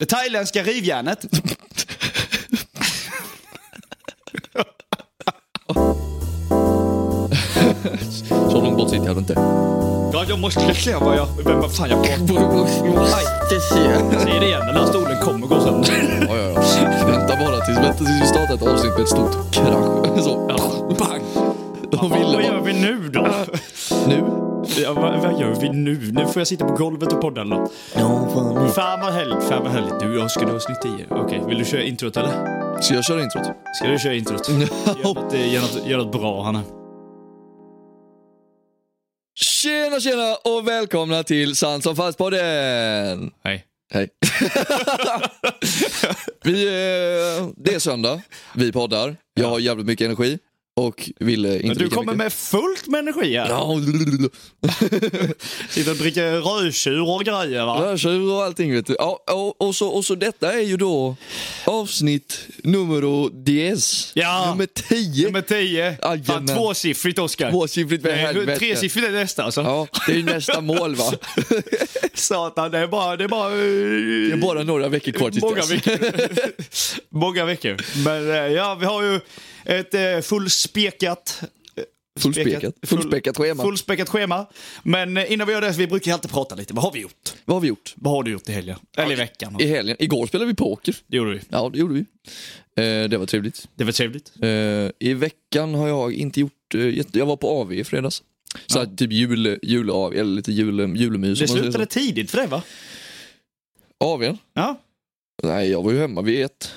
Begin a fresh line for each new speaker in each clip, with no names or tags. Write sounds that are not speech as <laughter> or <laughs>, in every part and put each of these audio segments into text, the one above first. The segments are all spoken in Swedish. Det thailändska rivjärnet.
Så långt bort sitter jag inte.
Ja, jag måste se vad jag... Vem vad fan jag pratar
Måste se.
Säg det igen, den här stolen kommer gå sönder.
Ja, ja, ja. Vänta bara tills, vänta tills vi startar ett avsnitt med ett stort krasch. Så, bang! De
Vad
ville
gör
bara,
vi nu då?
nu.
Ja, vad, vad gör vi nu? Nu får jag sitta på golvet och podda eller något. Mm. Fan vad härligt, fan vad härligt. Du, jag ska du ha snitt 10? Okej, vill du köra introt eller?
Ska jag köra introt?
Ska du köra introt? Gör något, eh, gör något, gör något bra, Hanna.
Tjena, tjena och välkomna till Sant som fast-podden!
Hej.
Hej. <laughs> vi, eh, det är söndag, vi poddar, jag har jävligt mycket energi och ville inte
Du
lika
kommer
mycket.
med fullt med energi här.
Ja,
Sitter och dricker rödtjur och grejer va?
Rödtjur och allting vet du. Ja, och, och, så, och så detta är ju då avsnitt nummer dies.
Ja.
Nummer 10.
Nummer 10.
Jajamän.
Fan, tvåsiffrigt Oskar.
Tvåsiffrigt för helvete.
Nej, Tresiffrigt är nästa alltså.
Ja, det är ju nästa
<laughs>
mål va.
Satan, det är bara... Det är bara, eh,
Det är bara några veckor kvar tills
Många
dess.
veckor. <laughs> Många veckor. Men eh, ja, vi har ju ett eh, fullspekat... eh,
Fullspäckat.
full-
Fullspäckat schema.
Fullspäckat schema. Men eh, innan vi gör det, så vi brukar alltid prata lite. Vad har vi gjort?
Vad har vi gjort?
Vad har du gjort i helgen? Eller i veckan?
I helgen, igår spelade vi poker.
Det gjorde vi.
Ja, det gjorde vi. Eh, det var trevligt.
Det var trevligt.
Eh, I veckan har jag inte gjort, eh, jätte- jag var på AV i fredags. Så här, typ jul, jul AV, eller lite jul, julmys.
Det
om man säger
slutade tidigt för dig va?
så. AVn?
Ja.
Nej, jag var ju hemma vid ett.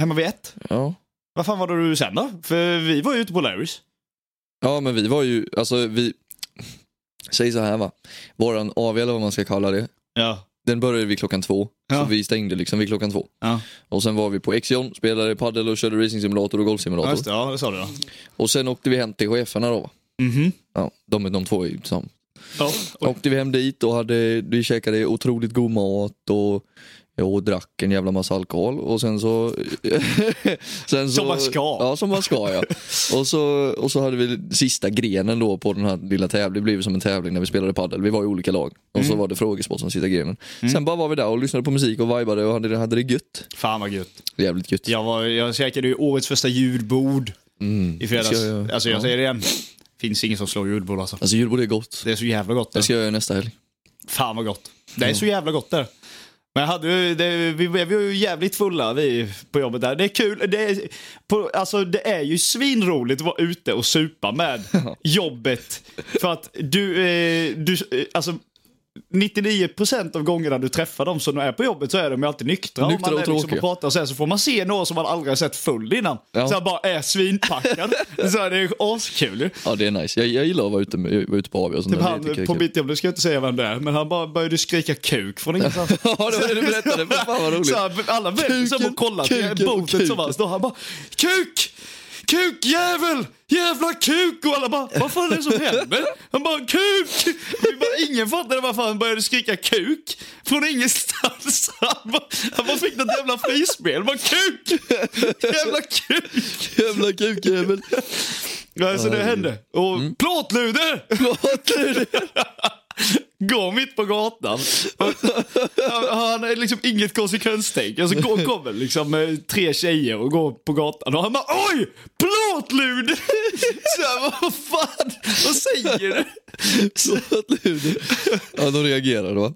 Hemma vid ett.
Ja.
Vad fan var det du sen då? För vi var ju ute på Larrys.
Ja men vi var ju, alltså vi, säg så här va, våran AV eller vad man ska kalla det,
Ja.
den började vid klockan två,
Ja.
så vi stängde liksom vid klockan två.
Ja,
Och sen var vi på Exion, spelade padel och körde racingsimulator och
ja
golfsimulator.
just det. Ja, det sa du ja.
och sen åkte vi hem till cheferna då. va?
Mhm.
Ja, de, de två är ju tillsammans.
Ja.
Och åkte vi hem dit och hade, vi käkade otroligt god mat och, och drack en jävla massa alkohol och sen så... <laughs> sen så
Som man ska.
Ja, som man ska ja. och, så, och så hade vi sista grenen då på den här lilla tävlingen, det blev ju som en tävling när vi spelade padel. Vi var i olika lag och
Mm.
så var det frågesport som sista grenen. Sen bara var vi där och lyssnade på musik och vibade och hade, hade det gött.
Fan vad gött.
Jävligt gött.
Jag, var, jag käkade ju årets första julbord
Mm.
i fredags.
Ska jag-
alltså jag
ja.
säger det igen. Finns ingen som slår julbord alltså.
Alltså julbord är gott.
Det är så jävla gott.
Det
Det.
ska jag göra nästa helg.
Fan vad gott. Det är så jävla gott där. Men jag hade, ju- det, vi blev ju jävligt fulla vi på jobbet där. Det är kul. Det är, på, alltså, det är ju svinroligt att vara ute och supa
<laughs>
med jobbet. För att du, eh, du eh, alltså 99% av gångerna du träffar dem som är på jobbet så är de ju alltid nyktra. Om
Nyktra
man
och
är liksom
tråkiga.
och pratar och så, här, så får man se någon som man aldrig har sett full innan.
Ja.
Så han bara är
<laughs>
svinpackad. så här, det är ju askul ju.
Ja det är nice. Jag, jag gillar att vara ute, med- vara ute på AW och sånt
Typ
där. Det tycker
han
jag är
på
kul.
mitt jobb, nu ska jag inte säga vem det är, men han bara började skrika kuk från ingenstans.
<laughs> Ja det var det du berättade, fan vad roligt.
Så här, alla vände sig om och kollade
Kuken,
till bordet
kuken.
som han står. Han bara kuk! Kukjävel! Jävla kuk! Och alla bara vad fan är det som händer? Han bara kuk! Och vi bara, ingen fattade varför han började skrika kuk från ingenstans. Han bara, han bara fick något jävla frispel. Han bara kuk! Jävla kuk!
Jävla kukjävel.
Ja, så det hände. Och plåtluder! <laughs> Går mitt på gatan. Han- Han har liksom inget konsekvenstänk. Alltså går, kommer liksom eh, tre tjejer och går på gatan och han bara oj! Plåtlud! Så här, vad fan? Vad säger du?
ja de reagerade va?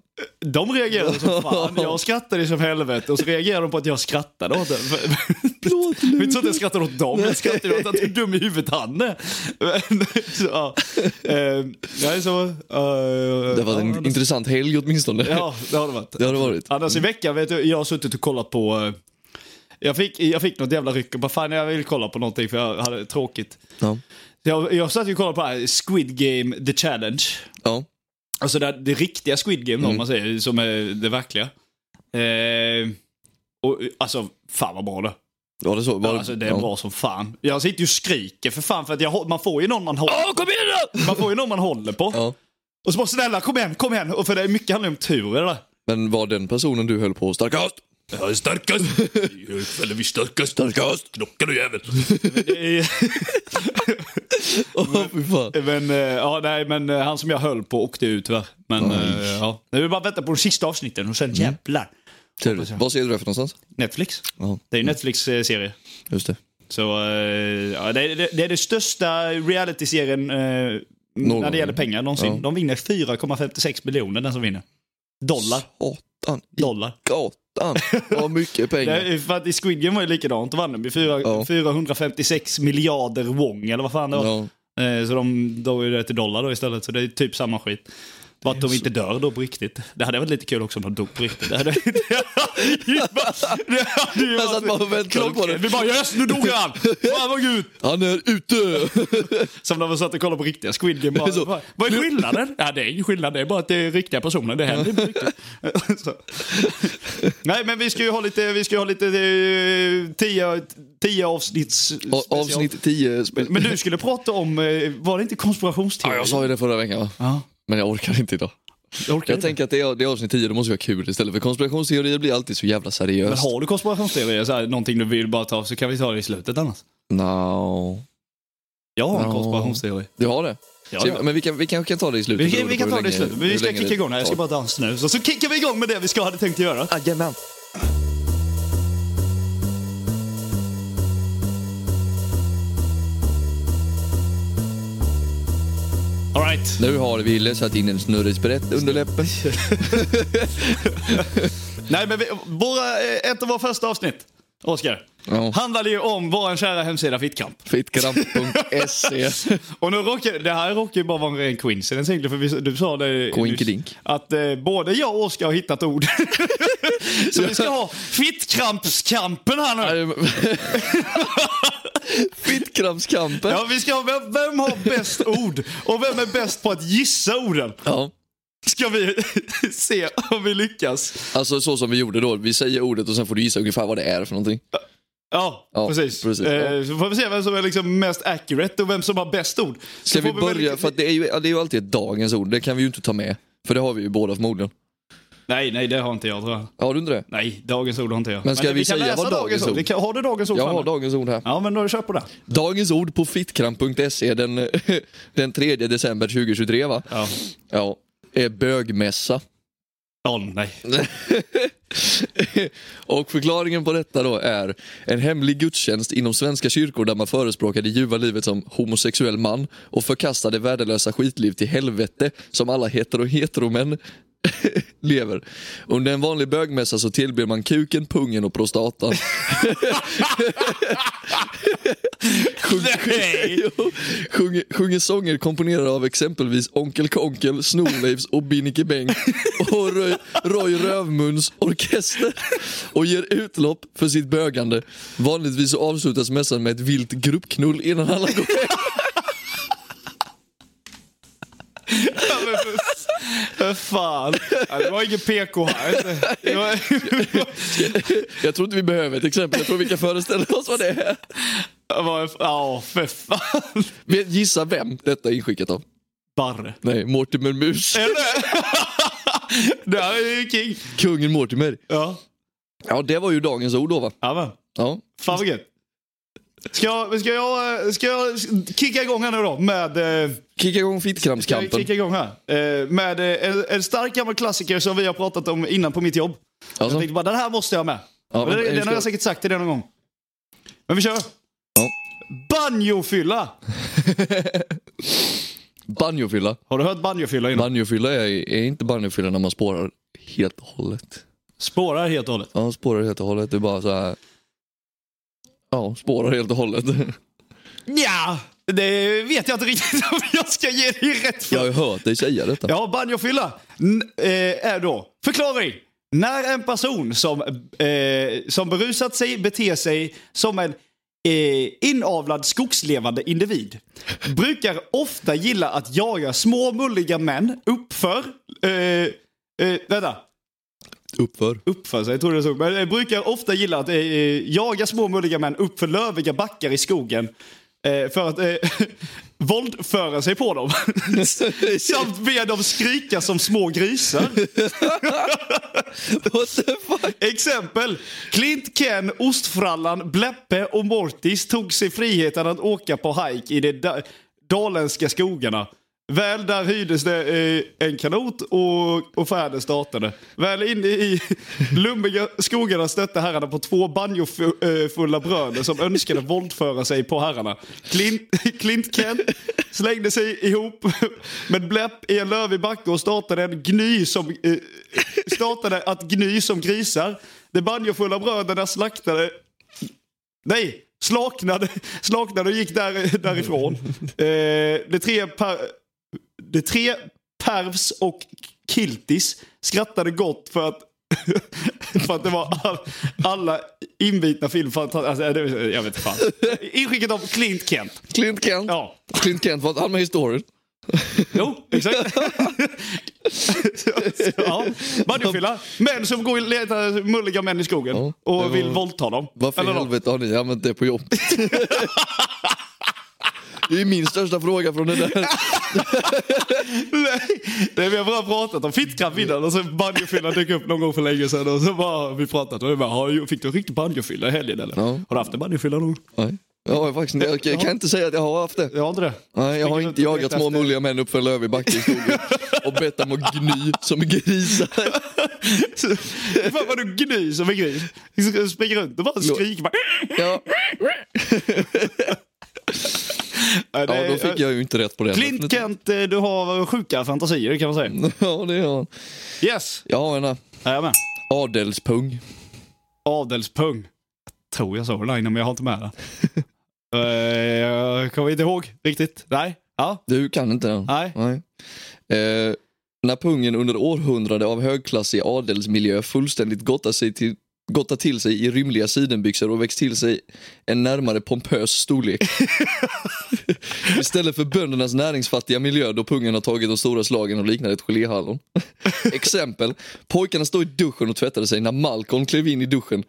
De reagerade som fan. Jag skrattade som helvete och så reagerade de på att jag typ. skrattade åt det. Det var inte så att jag skrattade åt dem, jag skrattade åt att hur dum i huvudet han är. Men, <laughs> så, ja. Eh, nej, så, eh,
Det var en intressant helg åtminstone.
Ja, det har det varit.
Det har det varit.
Annars i veckan vet du, jag har suttit och kollat på... eh, Jag fick, jag fick något jävla ryck och bara fan jag vill kolla på någonting för jag hade tråkigt.
Ja.
Så Jag, jag satt ju och kollade på det här Squid Game The Challenge.
Ja.
Alltså det, det riktiga Squid Game då,
Mm.
om man säger, som är det verkliga. Eh, och alltså, fan vad bra det
Var det så? Var
Alltså det är
ja.
bra som fan. Jag sitter ju och skriker för fan för att jag, hå- man får ju någon man håller,
Ja, kom igen då!
man får ju någon man håller på.
Ja.
Och så bara snälla kom igen, kom igen. Och för det är mycket handlar ju om tur eller?
Men var den personen du höll på starkast?
Jag är starkast. Jag är vi starkast.
Starkast!
Knocka du
<laughs>
jävel.
Åh fy fan.
<laughs> men, eh, ja, nej, men eh, han som
Mm.
jag höll på åkte ut tyvärr. Men eh, ja. Nu är det bara att vänta på de sista avsnitten och sen jävlar.
Trevligt. Vad ser du det för någonstans?
Netflix.
Ja,
Det är ju Netflix-serie.
just det.
Så eh, ja, det, är, det det är den största reality-serien eh, när
gång.
det gäller pengar någonsin.
Ja.
De vinner 4,56 miljoner den som vinner. Dollar.
Satan i
Dollar.
gatan vad mycket
Det
pengar.
är, för att i Squid Game var det likadant. Då vann de ju fyra-
Ja.
456 miljarder wong eller vad fan det var.
Ja.
Eh, Så de då är det till dollar då istället, så det är typ samma skit. Bara att de inte dör då på riktigt. Det hade varit lite kul också om de dog på riktigt. Det hade <laughs> det hade ju
Jag satt bara och väntade
klockrent.
på det.
Vi bara yes, nu dog
<laughs>
han! Fan vad gud!
Han är
<laughs>
ute!
Som när man satt och kollade på riktiga Squid Game. Bara,
Så.
"Vad- Vad är skillnaden? Ja, det är ingen skillnad, det är bara att det är riktiga personer. Det händer inte riktigt. <laughs> Så. Nej, men vi ska ju ha lite, vi ska ju ha lite eh, tio, tio avsnitts...
A- Avsnitt 10. spe-
Men du skulle prata om, eh, var det inte
Ja,
konspirationsteori?
jag sa ju det förra veckan va?
Ja.
Men jag orkar inte idag.
Jag orkar
Jag
inte.
tänker att det är, det är avsnitt 10, då måste vi ha kul istället. För konspirationsteorier blir alltid så jävla
Men
seriöst.
har du konspirationsteorier, så här, någonting du vill bara ta, så kan vi ta det i slutet annars.
No.
Jag har en
Ja.
konspirationsteori.
Du har det?
Ja,
Så,
ja.
Men vi kan, vi kan, kan ta det i slutet.
Vi, kan-
beroende
vi
på
kan
hur
ta det i
länge-
slutet, men vi
hur
ska
länge
kicka
det
igång här. Jag ska
tar.
bara dansa nu. Så, så kickar vi igång med det vi ska hade tänkt göra.
Jajamän.
All right.
Nu har Wille satt in en snurrisprätt under läppen.
Nej, men vi, våra, eh, ett av våra första avsnitt, Oskar,
<laughs> Ja.
handlade ju om vår kära hemsida
<laughs>
Fittkamp.
Fittkramp.se.
Och nu råkar, det här råkar ju bara vara en ren coincidence egentligen, för vi, du sa det
Coinkedink.
att eh, både jag och Oskar har hittat ord. <laughs> så vi ska ha fittkrampskampen här nu.
<laughs> Fittkrampskampen.
Ja, vi ska ha, vem, vem har bäst ord? Och vem är bäst på att gissa orden?
Ja.
Ska vi <laughs> se om vi lyckas.
Alltså så som vi gjorde då. Vi säger ordet och sen får du gissa ungefär vad det är för någonting.
Ja,
Ja,
precis.
precis,
eh, Så får vi se vem som är liksom mest accurate och vem som har bäst ord.
Ska
Så
vi
får väl
börja?
lyckas-
För att det, är ju, ja, det är ju alltid ett dagens ord. Det kan vi ju inte ta med. För det har vi ju båda förmodligen.
Nej, nej, det har inte jag tror jag.
Har du inte det?
Nej, dagens ord har inte jag.
Men ska vi säga vad dagens ord-
Vi kan, har du dagens ord
Jag
framme?
har dagens ord här.
Ja, men då kör på det.
Dagens ord på fittkramp.se den, <laughs> den 3 december 2023 va?
Ja.
Ja. Är bögmässa.
Åh, nej. <laughs>
<laughs> Och förklaringen på detta då är en hemlig gudstjänst inom svenska kyrkor där man förespråkar det ljuva livet som homosexuell man och förkastar det värdelösa skitliv till helvete som alla hetero heteromän <laughs> lever. Under en vanlig bögmässa så tillber man kuken, pungen och prostatan.
<laughs> Nej.
<laughs> Jo. sjunger, sjunger sånger komponerade av exempelvis Onkel Konkel, Snorleifs och Binnike Bengt och Roy, Roy Rövmuns orkester och ger utlopp för sitt bögande. Vanligtvis så avslutas mässan med ett vilt gruppknull innan alla går hem.
Ja, men för, för fan. Ja, det var ingen PK här. Det var,
Jag tror inte vi behöver ett exempel, jag tror vi kan föreställa oss vad det är.
det var, ja, för fan.
Men Gissa vem detta är inskickat av?
Barre.
Nej, Mortimer Mus.
<laughs> Det här är ju king.
Kungen Mortimer.
Ja.
Ja, det var ju dagens ord då va?
Jajamän.
Ja.
Fan vad gött. Ska jag, ska, jag, eh, ska jag kicka igång här nu då med... eh,
Kicka igång
Ska jag
fittkramskampen.
kicka igång här? Eh, Med eh, en, en stark gammal klassiker som vi har pratat om innan på mitt jobb. Jag
Alltså,
tänkte bara, den här måste jag ha med.
ja,
Men
men-
det, den har jag säkert sagt till dig någon gång. Men vi kör.
Ja.
Banjofylla!
Banjofylla.
Har du hört banjofylla innan?
Banjofylla är, är inte banjofylla när man spårar helt och hållet.
Spårar helt och hållet.
Ja, man spårar helt och hållet. Det är bara så här. Ja, spårar helt och hållet. <laughs>
Ja, det vet jag inte riktigt om jag ska ge dig rätt för.
Jag har ju hört dig säga detta.
Ja, banjofylla n- eh, är då förklaring. När en person som, eh, som berusat sig beter sig som en eh, inavlad skogslevande individ brukar ofta gilla att jaga små mulliga män uppför... Eh, eh, vänta.
Uppför.
<laughs> Uppför sig, jag trodde det såg. Men jag brukar ofta gilla att eh, jaga små mulliga män uppför löviga backar i skogen. Eh, för att eh, <laughs> våldföra sig på dem. Samt be dem skrika som små grisar.
What the fuck?
Exempel. Clint, Ken, Ostfrallan, Bleppe och Mortis tog sig friheten att åka på hike i de da- daländska skogarna. Väl där hyrdes det eh, en kanot och, och färden startade. Väl inne i <laughs> lummiga skogarna stötte herrarna på två banjofulla bröder som önskade våldföra sig på herrarna. Clint, Clint Kent slängde sig ihop med bläpp i en lövig backe och startade, en gny som, eh, startade att gny som grisar. De banjofulla bröderna slaktade Nej, slaknade, slaknade och gick där, därifrån. Eh, de, tre per, de tre Pervs och Kiltis skrattade gott för att, <laughs> för att det var all, alla inbitna filmfantaster. Alltså, det- jag vet inte fan. Inskicket av Clint Kent.
Clint Kent.
Ja,
Clint Kent, var inte han med i storyn?
jo, <laughs> exakt. ja, Bandyfylla. Män som går och letar mulliga män i skogen
Ja, det var-
och vill våldta dem.
Varför i
Eller något.
helvete har ni använt det
<laughs>
på jobb? det är min största fråga från det
<laughs>
där.
Nej, det vi har bara pratat om fittkraft innan och så banjofylla dök upp någon gång för länge sedan och så bara har vi pratat och jag bara, har du- fick du en riktig banjofylla i helgen eller?
Ja.
Har du haft en banjofylla någon gång?
Nej. Ja, jag, faktiskt, inte- jag, jag kan inte säga att jag har haft det.
Jag har inte det.
Nej, jag har
Springer
inte
runt och
jagat
letar
små
efter- <laughs>
mulliga män uppför en lövig backe i skogen och bett dem att gny som grisar.
<laughs> Fan vad du gny som en gris. Du Springer runt och bara skriker. Bara... "Äh!"
Ja,
Nej, det
ja,
är-
då fick jag ju inte rätt på det.
Clint Kent, eh, du har sjuka fantasier kan man
Mm.
säga.
<laughs> Ja, det har han.
Yes,
Jag har en här.
jajamän.
adelspung.
Adelspung. Jag tror jag såg den här innan men jag har inte med den.
<laughs>
Eh, Jag kommer inte ihåg riktigt. Nej. Ja.
Du kan inte den.
Nej.
Eh, när pungen under århundrade av högklassig adelsmiljö fullständigt gottat sig till gottat till sig i rymliga sidenbyxor och växt till sig en närmare pompös storlek. Istället för böndernas näringsfattiga miljö då pungen har tagit de stora slagen och liknar ett geléhallon. Exempel, pojkarna stod i duschen och tvättade sig när Malcolm klev in i duschen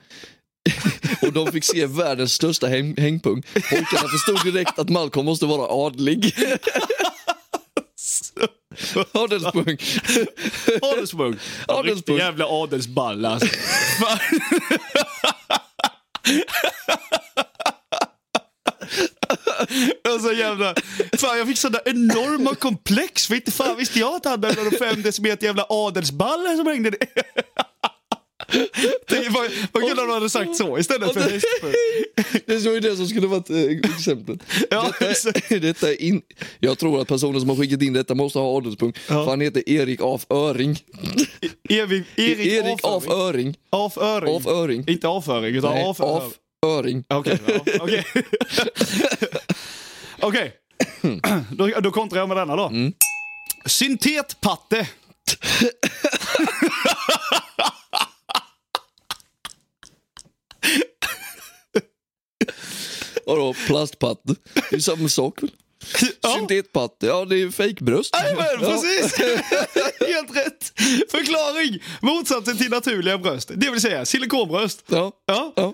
<laughs> och de fick se världens största häng- hängpung. Pojkarna förstod direkt att Malcolm måste vara adlig. Adelspung.
Adelspung. Ja, Riktig
Adelspung.
jävla adelsball alltså. <laughs> Fan. Alltså jävla... Fan jag fick sådana enorma komplex. För inte fan visste jag att han hade fem decimeter jävla adelsballar som hängde ner. Tänk, Vad vad kul om du hade sagt så istället för hästspung.
Det var ju det som skulle varit eh, <laughs> exemplet.
Ja,
detta, är- <laughs> detta är in... Jag tror att personen som har skickat in detta måste ha adelspung. För han heter Erik Af Öring.
Erik, Erik,
Erik Af
avföring.
Öring.
Avföring.
Af Öring.
Inte avföring utan
Nej,
avföring.
Af Öring.
Okej. ja, <laughs> Okej. <clears throat> Okej. Då, då kontrar jag med denna då. Syntetpatte.
Vadå, plastpatte? Det är samma sak väl? Syntetpatte? Ja, det är fejkbröst.
Jajamän, precis! <laughs> Helt rätt. Förklaring. Motsatsen till naturliga bröst. Det vill säga silikonbröst.
Ja.
Ja.
Ja.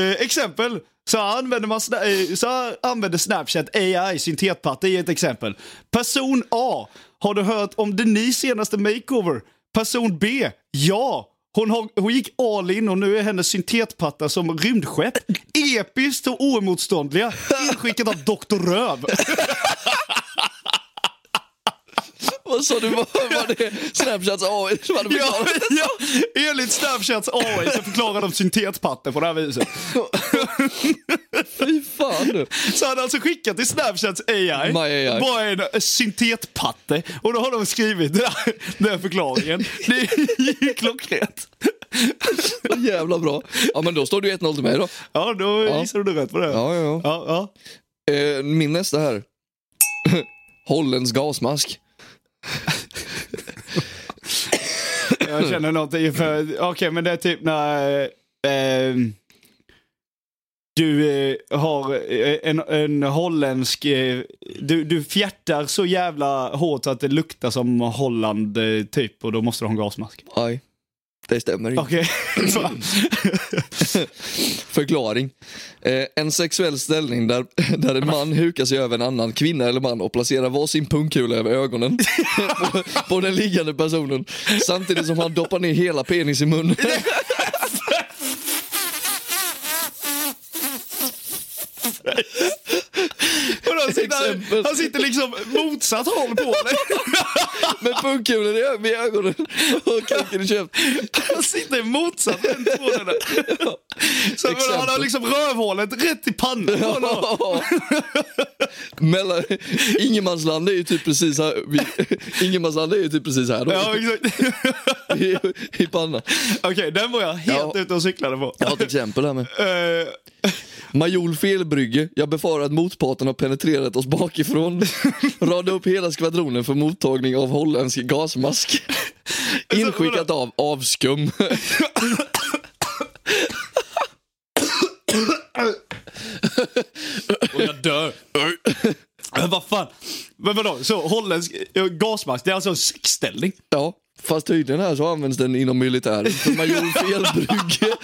Eh, exempel. Så här använder, man, sna- eh, så här använder Snapchat AI syntetpatte i ett exempel. Person A. Har du hört om Denise senaste makeover? Person B. Ja. Hon, har, hon gick all in och nu är hennes syntetpatta som rymdskepp. Episkt och oemotståndliga. Inskickat av Dr. Röv.
Vad sa du? Vad var det? Snapchats AI? som hade
<laughs> Ja,
förklarat?
ja. Enligt Snapchats AI så förklarar de syntetpatte på det här viset.
Fy fan du.
Så han har alltså skickat till Snapchats AI,
My AI.
bara en eh, syntetpatte. Och då har de skrivit den här, den här förklaringen. Det är ju klockrent.
Jävla bra. Ja, men då står du 1-0 till mig då.
Ja, då
Ja.
gissar du rätt på det.
Ja, ja,
Ja, ja.
ja. Eh, min nästa här. <laughs> Holländsk gasmask.
Jag känner någonting för... Okej, men det är typ när... Eh, du eh, har eh, en, en holländsk... Eh, du, du fjärtar så jävla hårt att det luktar som Holland, eh, typ. Och då måste du ha en gasmask.
Nej, det stämmer inte.
Okej. <laughs> Fan.
Förklaring. Eh, en sexuell ställning där, <laughs> där en man hukar sig över en annan kvinna eller man och placerar varsin pungkula över ögonen <laughs> på, på den liggande personen samtidigt som han doppar ner hela penis i munnen. <laughs>
Vadå, sitter, han- Han sitter liksom motsatt håll på dig.
Med pungkulor i ö- vid ögonen <laughs> och kuken i käften.
<laughs> Han sitter i motsatt vänd på dig. där. Så
Exempel.
han har liksom rövhålet rätt i pannan. på honom.
<laughs> Mellan, Ingenmansland är ju typ precis här, vi, <laughs> Ingenmansland är ju typ precis här då.
Ja, exakt. <laughs>
I, I pannan.
Okej, den var jag helt
Ja.
ute och cyklade på.
Jag har ett exempel här med.
Eh,
Majol felbrygge. Jag befarar att motparten har penetrerat oss bakifrån. Rada upp hela skvadronen för mottagning av holländsk gasmask. Inskickat av avskum.
och jag dör. Men vad fan. Men vadå, så holländsk eh, gasmask, det är alltså en sexställning?
Ja, fast tydligen här så används den inom militären. För majol felbrygge.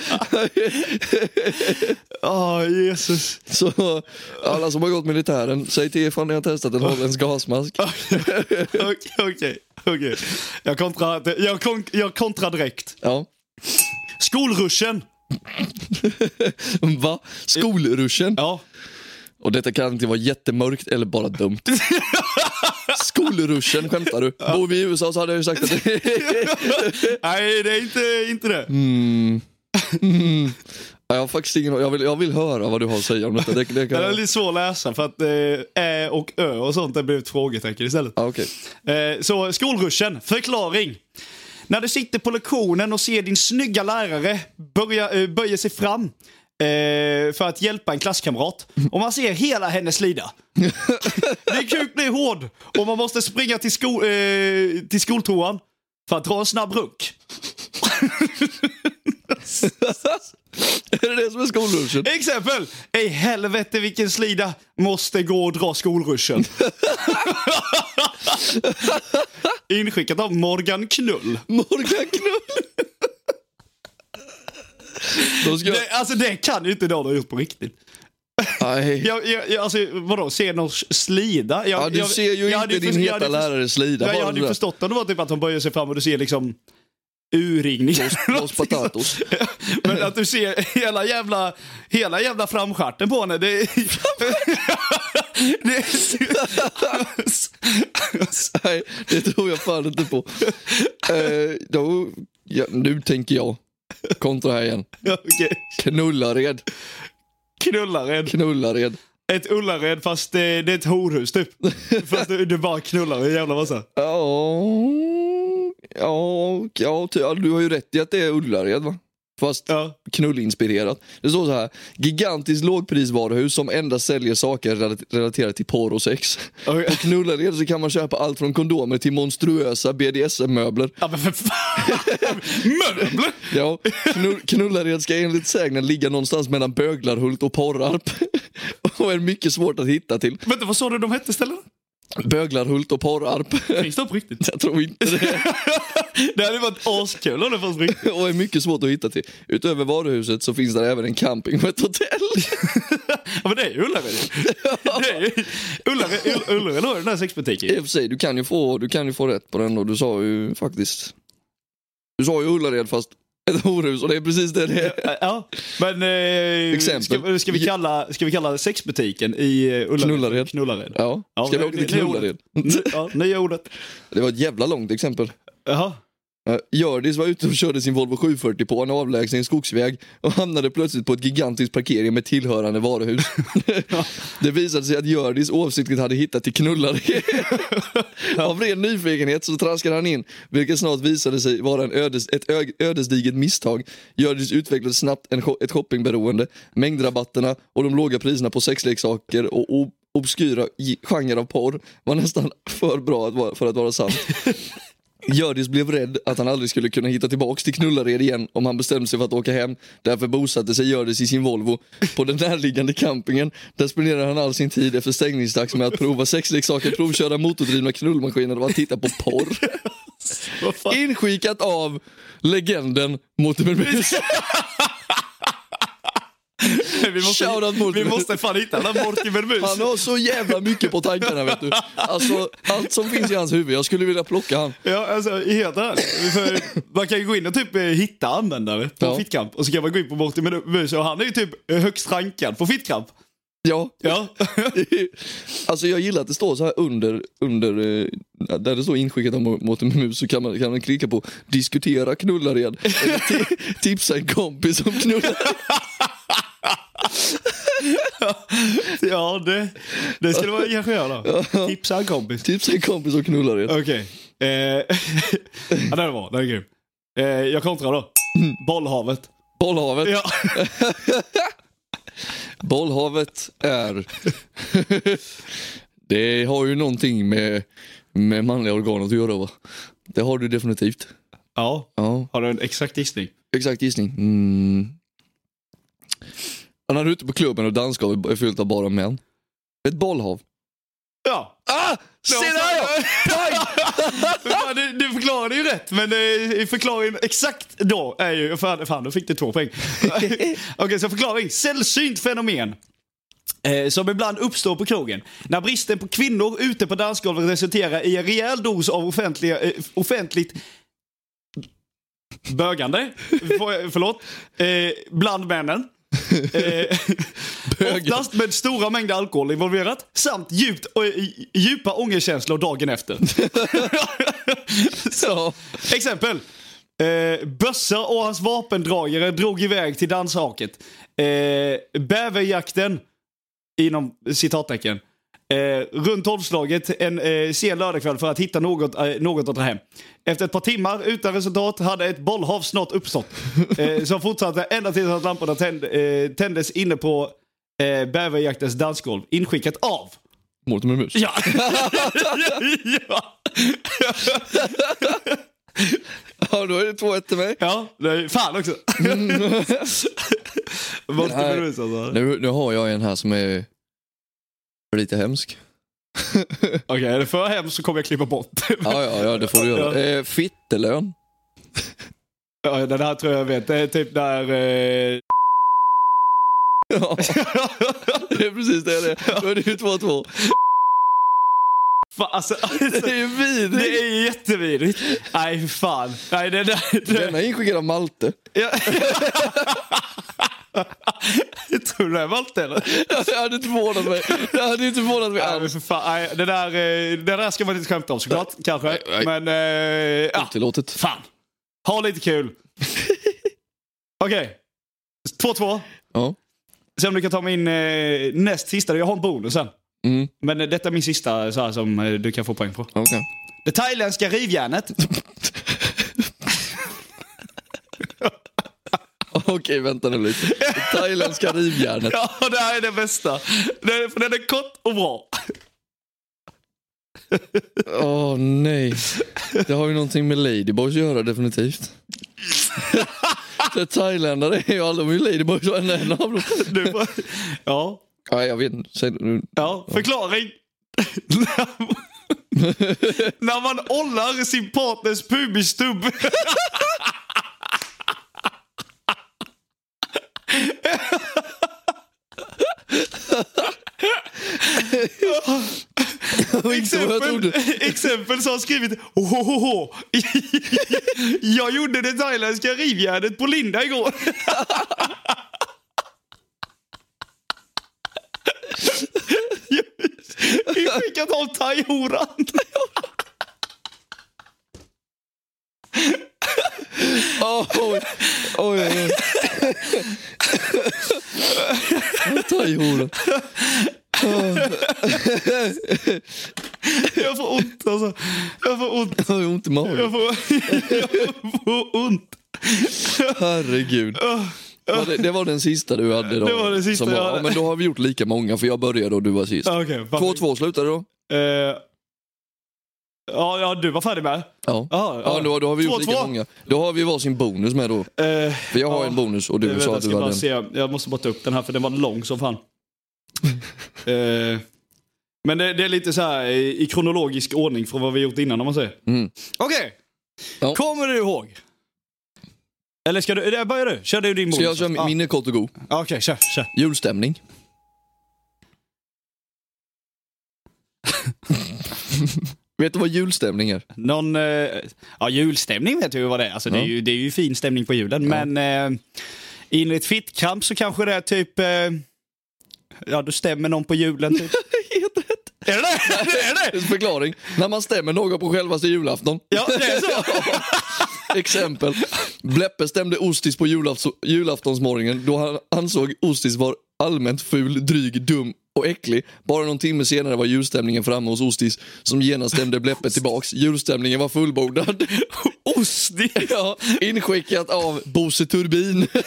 Ja, Jesus.
Så alla som har gått militären, säg till ifall ni har testat en holländsk gasmask.
Okej, okej. okej. Jag kontrar jag kon, jag kontra direkt.
Ja.
Skolruschen!
Va? Skolruschen?
Ja.
Och detta kan inte vara jättemörkt eller
<laughs>
bara dumt. Skolruschen skämtar du? Bor vi i USA så hade jag ju sagt att
<laughs> Nej, det är inte, inte det.
Mm. Ja, Jag har faktiskt ingen jag vill, jag vill höra vad du har att säga om detta. Det, det
<laughs>
kan
Den är
jag...
lite svår att läsa för att eh, ä och ö och sånt har blivit frågetecken istället.
ah, okej. <laughs>
Eh, så skolruschen, förklaring. När du sitter på lektionen och ser din snygga lärare börja, eh, böja sig fram eh, för att hjälpa en klasskamrat och man ser hela hennes lida. Din kuk blir hård och man måste springa till, sko, eh, till skoltoan för att dra en snabb runk.
Är det det som är skolruschen?
Exempel! Ej helvete vilken slida måste gå och dra
<laughs>
skolruschen. Inskickat av Morgan Knull.
Morgan Knull! Då ska jag...
Det, alltså det kan ju inte någon ha gjort på riktigt.
Nej.
Jag, jag, jag, alltså, vadå, se någon slida? Jag,
Ja, du
jag,
ser ju
jag hade
inte din
för- jag
heta
hade för-
lärare slida.
Jag,
bara
jag hade
sådär.
ju förstått om det var typ att hon böjer sig fram och du ser liksom urringning.
Los Patatos.
<laughs> Men att du ser hela jävla, hela jävla framstjärten på henne. Det, <laughs> det,
Nej, det tror jag fan inte på. Eh, då, ja, nu tänker jag kontra här igen.
Okej.
Knullared,
Knullared.
Knullared.
Ett Ullared fast det, det är ett horhus typ. Fast du, du bara knullar en jävla massa.
Ja, ja, ja, ty- ja, du har ju rätt i att det är Ullared va? Fast
Ja.
knullinspirerat. Det står så här, gigantiskt lågprisvaruhus som endast säljer saker relat- relaterade till porr och sex.
Okej.
På Knullared så kan man köpa allt från kondomer till monstruösa BDSM-möbler.
ja men för fan. Möbler!
Ja, knull, Knullared ska enligt sägnen ligga någonstans mellan Böglarhult och Porrarp. <laughs> Och är mycket svårt att hitta till.
Vänta vad sa du de hette ställena?
Böglarhult och Porrarp. <laughs>
Finns det på riktigt?
Jag tror inte det.
Det hade varit askul om det fanns på riktigt.
Och är mycket svårt att hitta till. Utöver varuhuset så finns där även en camping och ett hotell. <laughs>
Ja men det är ju Ullared. Det är ju- Ullared, Ull- Ullared har ju den här sexbutiken.
I och för sig, du kan ju få, du kan ju få rätt på den och du sa ju faktiskt... Du sa ju Ullared fast ett horhus och det är precis det det är.
Ja, men eh,
Exempel.
Ska, ska, vi kalla, ska vi kalla sexbutiken i eh, Ullared?
Knullared.
Knullared.
Ja,
Ja,
ska vi
det-
åka till
det är ordet.
Knullared?
N- Ja, nya ordet.
Det var ett jävla långt exempel.
Jaha.
Eh, Hjördis var ute och körde sin Volvo 740 på en avlägsen skogsväg och hamnade plötsligt på ett gigantiskt parkering med tillhörande varuhus. Det visade sig att Hjördis oavsiktligt hade hittat till knullare. Av ren nyfikenhet så traskade han in, vilket snart visade sig vara en ödes, ett ö, ödesdigert misstag. Hjördis utvecklade snabbt en, sho- ett shoppingberoende, mängdrabatterna och de låga priserna på sexleksaker och o- obskyra gi- genrer av porr var nästan <laughs> för bra att vara, för att vara sant. Hjördis blev rädd att han aldrig skulle kunna hitta tillbaks till Knullared igen om han bestämde sig för att åka hem. Därför bosatte sig Hjördis i sin Volvo på den närliggande campingen. Där spenderade han all sin tid efter stängningsdags med att prova sexleksaker, provköra motordrivna knullmaskiner och att titta på porr.
Vad fan?
Inskicat av legenden Mortimer Mus.
Vi
Shoutout
måste,
Mortimer.
vi måste fan hitta den här Mortimer Mus.
Han har så jävla mycket på tankarna vet du. Alltså allt som finns i hans huvud. Jag skulle vilja plocka han.
Ja, alltså helt ärligt. För Man kan ju gå in och typ eh, hitta användare på
Ja.
Fittkamp och så kan man gå in på Mortimer Mus och han är ju typ eh, högst rankad på Fittkamp.
Ja, <laughs>
Ja.
alltså jag gillar att det står så här under, under eh, där det står inskickat om Mårten Mus så kan man, kan man klicka på diskutera knullared eller ti- tipsa en kompis om knullar.
Ja, det, det skulle man kanske göra. Tipsa en kompis.
tipsa en kompis om knullared.
Okej. Eh, <laughs> ja, den är bra. Den är grym. Eh, jag kontrar då. <clears throat> Bollhavet.
Bollhavet.
Ja.
Bollhavet är... <laughs> det har ju någonting med, med manliga organ att göra va? Det har du definitivt.
<laughs> ja.
Ja,
Har du en exakt gissning?
exakt gissning. Mm. Och När du är ute på klubben och dansgolvet är fyllt av bara män. Ett bollhav.
Ja.
Ah! Se där ja! Pang!
<laughs> Fan, du, du förklarade ju rätt, men eh, förklaringen exakt då är ju... Fan, fan då fick du två poäng. <laughs> Okej, så förklaring. Sällsynt fenomen. Eh, som ibland uppstår på krogen. När bristen på kvinnor ute på dansgolvet resulterar i en rejäl dos av offentliga, eh, offentligt bögande, för, förlåt, eh, bland männen. Eh, oftast med stora mängder alkohol involverat samt djupt, och, djupa ångestkänslor dagen efter.
ja.
Exempel. Eh, bössa och hans vapendragare drog iväg till danshaket. Eh, bäverjakten, inom citattecken, eh, runt tolvslaget en eh, sen lördagkväll för att hitta något, eh, något att dra hem. Efter ett par timmar utan resultat hade ett bollhav snart <laughs> uppstått. Eh, som fortsatte ända tills att lamporna tänd, eh, tändes inne på eh, bäverjaktens dansgolv. Inskickat av.
Mårten med mus.
<laughs> Ja! ja.
Ja, då är det 2-1 till mig.
Ja, nej, fan också. <laughs> Måste
Nej.
bevisa så.
Nu, nu har jag en här som är lite hemsk.
Okej, är det för hemskt så kommer jag klippa bort.
Ja, ja, ja det får du göra.
Ja.
Eh, fittelön.
<laughs> ja, den här tror jag vet. Det är typ där... Eh... <laughs>
Ja. Det är precis det det är. Då är det ju 2-2.
Fan, alltså, <laughs>
Det är ju
det
vidrigt.
är jättevidrigt. Nej, fan. Nej, det där...
Denna är inskickad av Malte.
Jag <laughs> tror du det är Malte eller?
Det hade inte förvånat mig. Det hade inte förvånat mig
Nej, men
alls.
för fan. Nej, det, där, eh, det där ska man inte skämta om såklart, kanske.
nej.
Men... Eh, ja,
Otillåtet.
fan. Ha lite
<laughs>
kul. Okej. 2-2.
Ja.
Se om du kan ta min eh, näst sista. Jag har en bonus sen.
Mm.
Men eh, detta är min sista så här, som eh, du kan få poäng på.
Okej.
Det thailändska rivjärnet.
Okej, vänta nu lite. Det thailändska
<laughs>
rivjärnet.
Ja, det här är det bästa. Den, för den är kort och bra.
Åh nej. Det har ju någonting med Ladyboys att göra definitivt. Det thailändare är ju alla, de är ju Ladyboys varenda en av dem.
Du, får- ja,
Ja, jag vet inte. Säg nu.
ja, förklaring. <laughs> När man ollar sin partners pubisstubb.
Och inte vad jag
Exempel,
trodde.
exempel så har han skrivit "Ohohoho". <laughs> Jag gjorde det thailändska rivjärnet på Linda igår. <laughs> Vi skickat av thaihoran.
Åh, Oj, oj, oj. oj. Thaihoran.
Jag får ont alltså. Jag får ont.
Jag har ju ont i magen.
Jag får, jag får ont. Ah.
Herregud. Ja, det, det var den sista du hade då.
Det var den sista
som
jag hade.
ja, men då har vi gjort lika många för jag började och du var sist.
Okej, okay,
2-2 slutade då.
ja, ja, du var färdig med.
Ja.
Ja,
Ja, då, då har vi gjort
2-2.
lika många. Då har vi varsin bonus med då.
Eh,
För jag har
Ja.
en bonus och
Jag
du
vet,
sa
jag
att
ska
du hade
bara
en.
se. Jag måste bara ta upp den här för den var lång som
<laughs>
fan. Eh, men det, det är lite så här i i kronologisk ordning från vad vi gjort innan om man säger.
Mm.
Okej.
Ja.
Kommer du ihåg? Eller ska du, där börjar du. Kör du din
Så
bonus.
jag kör
ah.
minne kort och god.
Okej, kör, kör.
Julstämning. <laughs> Vet du vad julstämning är?
Någon, eh, ja julstämning vet vi vad det är. Alltså, det, är
Ja.
ju, det är ju fin stämning på julen. Men eh, enligt Fittkamp så kanske det är typ, eh, Ja, du stämmer någon på julen typ.
<laughs> Helt rätt.
är det det? Är det
<laughs>
det?
Förklaring. När man stämmer någon på självaste julafton.
Ja, det är så.
<laughs> Exempel. Bleppe stämde Ostis på julaft- julaftonsmorgonen då han ansåg Ostis var allmänt ful, dryg, dum och äcklig. Bara någon timme senare var julstämningen framme hos Ostis som genast stämde Bleppe tillbaks. Julstämningen var fullbordad.
Ostig.
Ja, inskickat av Bosse Turbin. <laughs>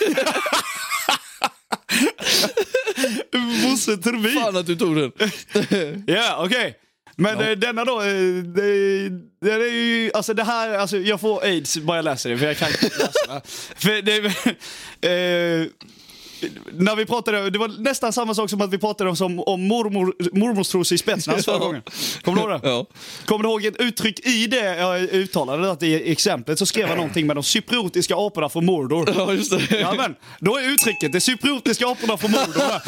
Bosse Turbin.
Fan att du tog den.
Ja, okej. Men eh, denna då, eh, det, det är ju, alltså det här, alltså jag får aids bara jag läser det för jag kan inte <laughs> läsa. det. för det, eh, när vi pratade, det var nästan samma sak som att vi pratade om, som, om mormor, mormors trosor i spetsnans förra
<laughs> Ja.
gången. Kommer du ihåg det?
Ja.
Kommer du ihåg ett uttryck i det jag uttalade, att i exemplet så skrev jag någonting med de cypriotiska aporna från Mordor.
ja, just det.
Jajamän, då är uttrycket de cypriotiska aporna från
<laughs>
Mordor.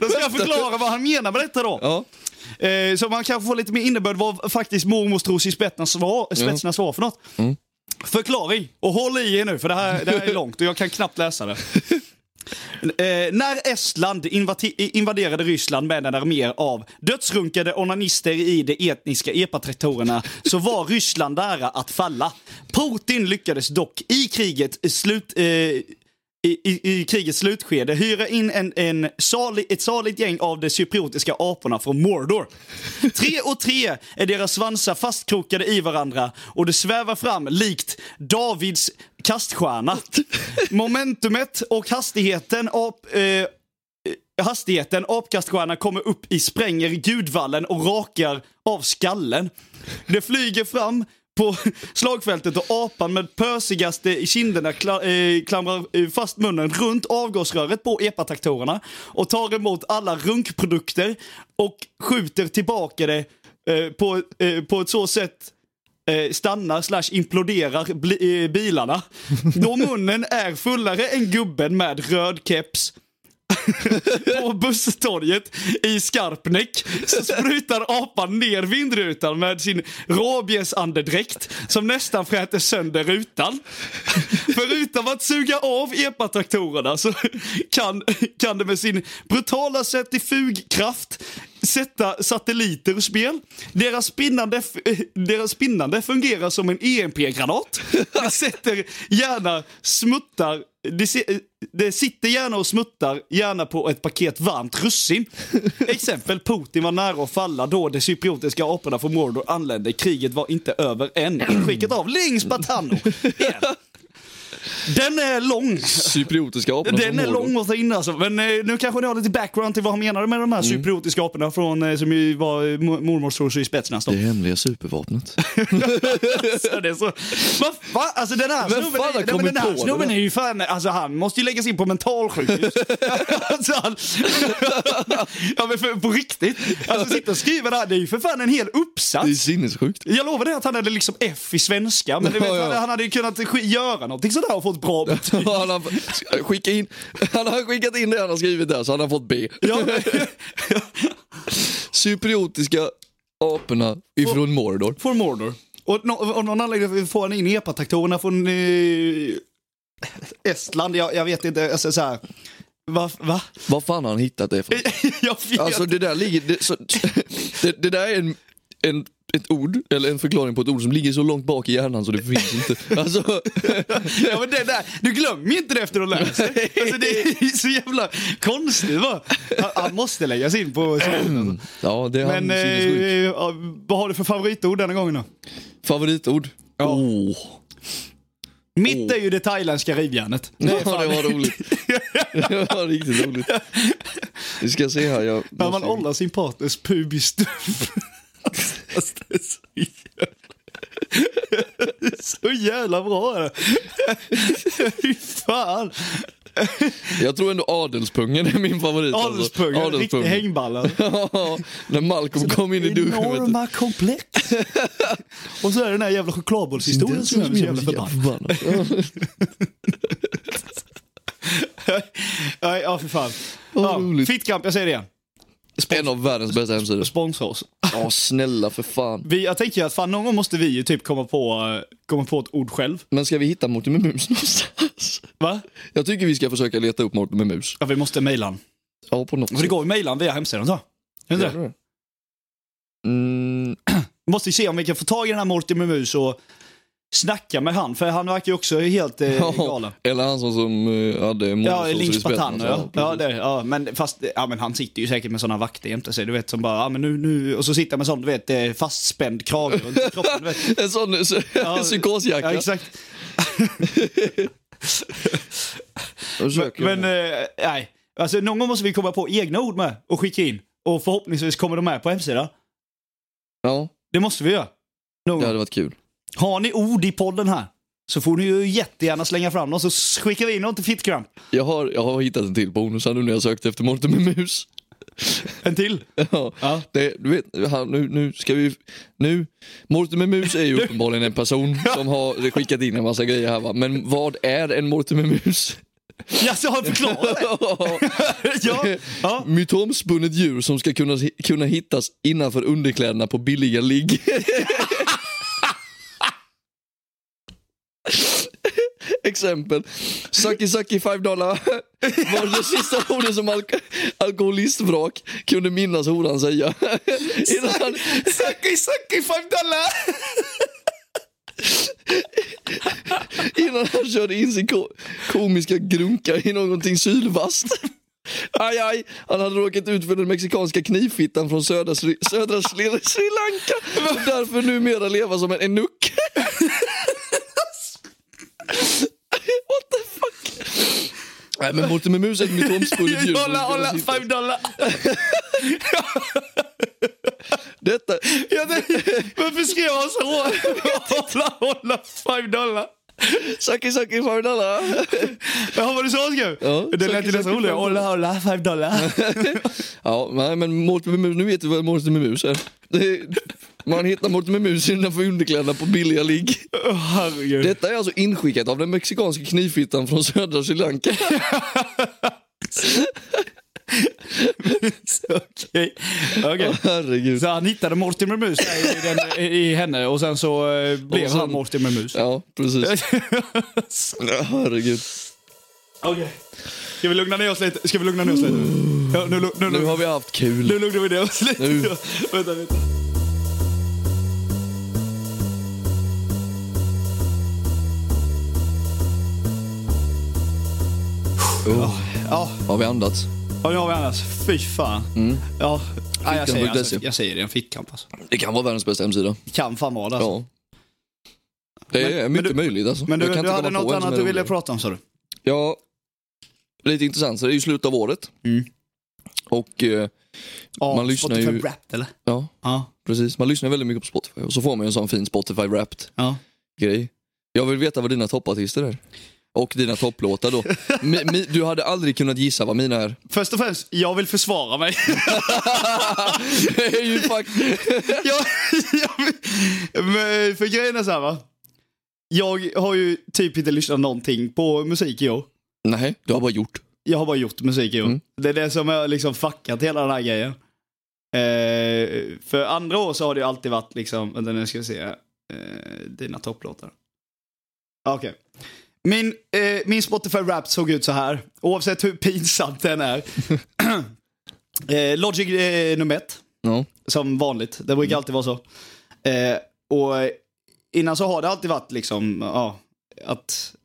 då ska jag förklara vad han menar med detta då.
Ja.
Eh, så man kan få lite mer innebörd vad faktiskt mormors tros i spetsnas var, spetsnas var för något. Förklaring, och håll i er nu för det här, det här är långt och jag kan knappt läsa det. Eh, när Estland invati- invaderade Ryssland med en armé av dödsrunkade onanister i de etniska epatraktorerna så var Ryssland nära att falla. Putin lyckades dock i kriget slut... Eh, i, i, i krigets slutskede hyra in en, en salig, ett saligt gäng av de cypriotiska aporna från Mordor. Tre och tre är deras svansar fastkrokade i varandra och de svävar fram likt Davids kaststjärna. Momentumet och hastigheten ap, eh, hastigheten apkaststjärnan kommer upp i spränger gudvallen och rakar av skallen. Det flyger fram på <laughs> slagfältet och apan med pösigaste kinderna kla- eh, klamrar eh, fast munnen runt avgasröret på epatraktorerna och tar emot alla runkprodukter och skjuter tillbaka det eh, på, eh, på ett så sätt eh, stannar slash imploderar bli- eh, bilarna. Då munnen är fullare än gubben med röd keps på busstorget i Skarpnäck så sprutar apan ner vindrutan med sin rabiesandedräkt som nästan fräter sönder rutan. Förutom att suga av epatraktorerna så kan, kan det med sin brutala certifugkraft sätta satelliter ur spel. Deras spinnande, f- eh, deras spinnande fungerar som en EMP-granat. Det sätter gärna smuttar det, si- eh, det sitter gärna och smuttar, gärna på ett paket varmt russin. Exempel, Putin var nära att falla då de cypriotiska aporna från Mordor anlände. Kriget var inte över än. Skicket av Lings Batano. Igen. Den är lång.
Cypriotiska aporna
Den
från
är
Mordor.
lång och in alltså. Men eh, nu kanske ni har lite background till vad han menade med de här cypriotiska aporna från, eh, som ju var eh, mo- mormors trosor i spetsen.
Det hemliga supervapnet.
Alltså, det är så... Vad fan? Alltså den här
Vem fan
snubben,
har
är- nej, men
kommit
den här
på
snubben
det?
är ju fan... Alltså han måste ju läggas in på mentalsjukhus. <laughs> alltså, han... <laughs> ja men för, på riktigt. Alltså sitta och skriva det här, det är ju för fan en hel
Det är
uppsats.
sinnessjukt.
Jag lovar dig att han hade liksom F i svenska, men du vet,
Ja, ja.
Han, han hade ju kunnat sk- göra någonting sådär och fått
<laughs>
bra betyg.
Han har, skicka in, <laughs> han har skickat in det han har skrivit där så han har fått B.
Ja, <laughs>
<laughs> Cypriotiska aporna ifrån Mordor.
från Mordor. Och no, av någon anledning får han in epatraktorerna från eh, Estland, jag, jag vet inte, alltså såhär. Va? va? <laughs>
Vad fan har han hittat det för?
jag vet
Alltså det där ligger... Det, så, <laughs> det, det där är en, en, ett ord, eller en förklaring på ett ord som ligger så långt bak i hjärnan så det finns
<laughs>
inte. Alltså,
Ja, men det där, du glömmer ju inte det efter att du läst det. Alltså, det är så jävla konstigt va? Han, han måste läggas in på skolan.
ja, det är han
Mm. Men eh,
sinnessjuk.
ja, vad har du för favoritord denna gången då?
Favoritord? Oh.
Ja.
Åh.
Mitt är ju det thailändska rivjärnet.
<laughs> Ja, det var
<laughs>
roligt. Det var riktigt roligt. Vi ska se här. Jag
När man
måste-
ollar sin partners pubisstubb. Alltså, det är så jävla- det är så jävla bra. är det. Fy fan.
Jag tror ändå adelspungen är min favorit. alltså.
Adelspungen, en riktig hängballa.
<laughs> Ja, När Malcolm kom in i duschen. vet du.
Enorma
<laughs>
komplex. Och så är det den här jävla chokladbollshistorien som gör mig så jävla förbannad.
förbannad.
Nej, ja för fan.
Vad
Ja,
roligt.
Fittkamp, jag säger det igen.
En av världens
<laughs>
bästa hemsidor.
Sponsra oss.
Ja, snälla för fan.
Vi, jag tänker att fan någon gång måste vi ju typ komma på, eh, komma på ett ord själv.
Men ska vi hitta Mortimer Mus någonstans?
Va?
Jag tycker vi ska försöka leta upp Mortimer Mus.
Ja, vi måste mejla han.
Ja, på något
För det går ju mejlan via hemsidan så. Är det
Gör
inte det?
det? Mm,
Vi måste ju se om vi kan få tag i den här Morty med mus och snacka med han, för han verkar ju också helt eh,
Ja,
galen.
Eller han som, som eh, hade
Ja,
motorsås i
Links
spetsen
Patan.
och så.
Ja.
<laughs>
Ja, det, ja, men fast ja, men han sitter ju säkert med sådana vakter jämte sig. Du vet som bara, ja, men nu, nu, och så sitter han med sån du vet, eh, fastspänd krage runt kroppen. <laughs> Du vet.
En sån så,
Ja,
<laughs> psykosjacka.
Ja, exakt.
Jag försöker.
Men eh, nej, alltså någon gång måste vi komma på egna ord med och skicka in. Och förhoppningsvis kommer de med på hemsidan.
ja,
Det måste vi göra. Någon
det
gång.
hade varit kul.
Har ni ord i podden här så får ni ju jättegärna slänga fram dem så skickar vi in dem till Fittkramp.
Jag har, jag har hittat en till bonus här nu när jag sökte efter Mårten med mus. <laughs>
En till.
Ja.
Ja.
Det, du vet, han, nu, nu ska vi... Nu. Mårten med mus är
<laughs>
ju uppenbarligen en person som har skickat in en massa grejer här va. Men vad är en Mårten med
<laughs>
mus? <laughs>
Ja, så har jag <laughs> förklarat det. <laughs> ja. ja.
Mytomspunnet djur som ska kunna, kunna hittas innanför underkläderna på billiga ligg. <laughs> Exempel. Saki Saki 5 dollar var det sista ordet som alk- alkoholistvrak kunde minnas horan säga. <laughs> Innan han,
Sucky, sucky, five dollar!
innan han körde in sin ko- komiska grunka i någonting sylvast. Aj, aj, han hade råkat ut för den mexikanska knivfittan från södra, Sri, södra Sri, Sri Lanka och därför numera leva som en enuk. What the fuck? Nej men Mårten med mus är ett mytomspunnet djur.
Dollar, dollar, five dollar!
Detta,
Ja, det, varför skrev han så? Dollar, dollar, five dollar!
Saki Saki five dollar.
Jaha, var det så han skrev?
Ja,
det lät
sucky,
ju nästan
sucky,
roligare.
five dollar.
Dollar, dollar, five
<laughs>
dollar!
Ja, nej, men Mårten med mus, nu vet du vad Mårten med mus är. Det är man hittar Mårten med mus innanför underkläderna på billiga ligg.
Åh, herregud.
Detta är alltså inskickat av den mexikanska knivfittan från södra
<laughs>
Sri Lanka.
Okej. Okej.
Herregud.
Så han hittade Morty med mus där i, den, i henne och sen så eh, blev
Och sen-
han Morty med
<laughs>
mus.
Ja, precis. Herregud.
Okej. Ska vi lugna ner oss lite? Ska vi lugna ner oss lite? Ja, nu, lu- nu,
Uh. Nu
nu,
har vi haft kul.
nu lugnar vi ner oss lite.
Nu.
<laughs> Vänta lite.
Oh.
Ja,
Har vi andats?
ja, nu har vi annars. Fy fan.
Mm.
Ja. Ja, jag, säger, alltså,
Fittkamp.se.
jag säger det, en fickkamp alltså.
Det kan vara världens bästa hemsida.
Det kan fan vara det. Alltså.
Ja. Det är
Men- men
mycket
du-
möjligt alltså.
Men du,
Jag kan
du
inte
hade
komma på
något
en som
annat
är
du ville
roligare.
prata om sa du?
Ja, lite intressant. Så det är ju slutet av året.
Mm.
Och eh,
Ja,
Man lyssnar ju-
Spotify Wrapped eller?
ja,
Ja.
precis. Man lyssnar väldigt mycket på Spotify. Och så får man ju en sån fin Spotify Wrapped.
ja.
grej. Jag vill veta vad dina toppartister är. Och dina
<laughs>
topplåtar då. Mi, mi, du hade aldrig kunnat gissa vad mina är.
Först och främst, jag vill försvara
<laughs>
mig. <laughs>
Det är ju fakt-
jag, jag, men för grejen är så här va. Jag har ju typ inte lyssnat någonting på musik i år.
Nej, du har bara gjort.
Jag har bara gjort musik i år.
Mm.
Det är det som har liksom fuckat hela den här grejen. Eh, för andra år så har det ju alltid varit liksom, vänta nu ska vi se, eh, dina topplåtar. Ah, Okej. Min, eh, min Spotify rap såg ut så här, oavsett hur <laughs> pinsamt den är. <clears throat> eh, Logic eh, nummer ett.
Ja.
Som vanligt. Det brukar alltid vara så. Eh, och innan så har det alltid varit liksom, ja, att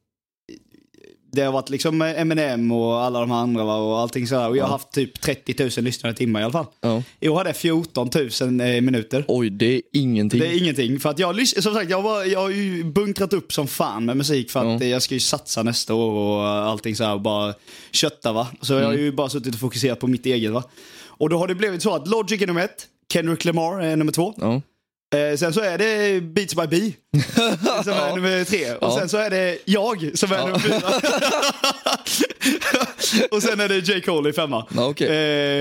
det har varit liksom Eminem och alla de här andra va, och allting sådär. Och jag har
Ja.
haft typ 30 000 lyssnade timmar i alla fall.
ja.
I år hade jag 14 000 eh, minuter.
Oj, det är ingenting.
Det är ingenting. För att jag, har lys- som sagt, jag, var, jag har ju bunkrat upp som fan med musik för att
Ja.
eh, jag ska ju satsa nästa år och allting så här och bara kötta va. Så jag har
Mm.
ju bara suttit och fokuserat på mitt eget va. Och då har det blivit så att Logic är nummer ett, Kendrick Lamar är nummer två.
Ja.
Eh, sen så är det Beats by
<laughs>
Bee som är
Ja.
nummer tre. Och
Ja.
sen så är det jag som är nummer
<laughs>
fyra. <laughs> och sen är det J. Cole i femma.
Ja, okej.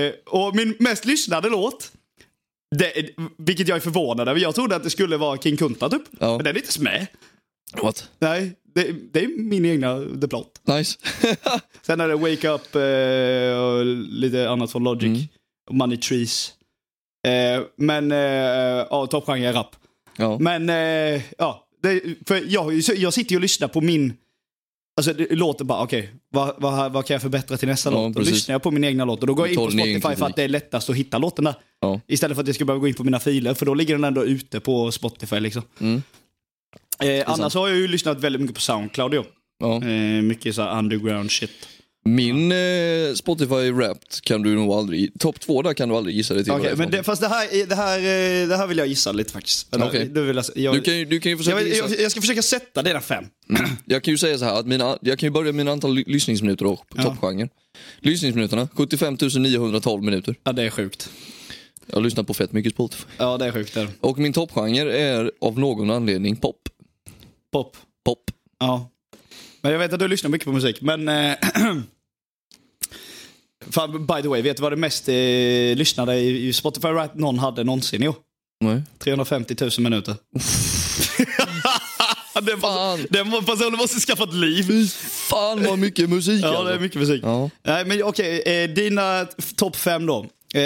Eh, och min mest lyssnade låt, det, vilket jag är förvånad över. Jag trodde att det skulle vara King Kunta typ.
Ja.
Men den är inte ens med.
What?
Nej, det, det är min egna The Plot.
Nice.
Sen är det Wake Up eh, och lite annat från Logic.
Mm.
Och Money Trees. Eh, men eh, ja, toppgenre är rap.
Ja.
Men eh, ja, det, för jag, har ju- jag sitter ju och lyssnar på min Alltså det låter bara, okej, vad, vad, vad kan jag förbättra till nästa
Ja,
låt? Då
precis.
lyssnar jag på min egna låt och då går jag in
Tar
på
din egen
Spotify för att
kritik.
det är lättast att hitta låten där.
Ja.
Istället för att jag ska behöva gå in på mina filer, för då ligger den ändå ute på Spotify liksom.
Mm.
Eh, annars har jag ju lyssnat väldigt mycket på Soundcloud i år.
Ja.
Eh, mycket så här underground shit.
Min eh, Spotify Wrapped kan du nog aldrig, topp två där kan du aldrig gissa dig till vad
Okej,
det är
men
för
det, fast det här, är- det, här, eh, det här vill jag gissa lite faktiskt. Eller,
Okej.
det vill jag, jag,
någonting. du, kan ju, du kan ju försöka
jag,
gissa.
jag, jag ska försöka sätta dina fem.
Jag kan ju säga så här att mina, jag kan ju börja med mina antal ly- lyssningsminuter och
Ja.
toppgenren. Lyssningsminuterna, 75 912 minuter.
Ja, det är sjukt.
Jag har lyssnat på fett mycket Spotify.
Ja, det är sjukt. Det är. det.
Och min toppgenre är av någon anledning pop.
Pop.
Pop.
Ja. Men jag vet att du lyssnar mycket på musik, men... Eh, <clears throat> fan, by the way, vet du vad det mest eh, lyssnade i i Spotify Right någon hade någonsin i år?
Nej.
350 000 minuter. <laughs> den,
Fan.
person, den må- personen måste skaffa ett liv.
Fy fan vad mycket musik
Ja,
alltså.
det är mycket musik.
Ja.
Nej, men okej. eh, dina topp fem då. Eh,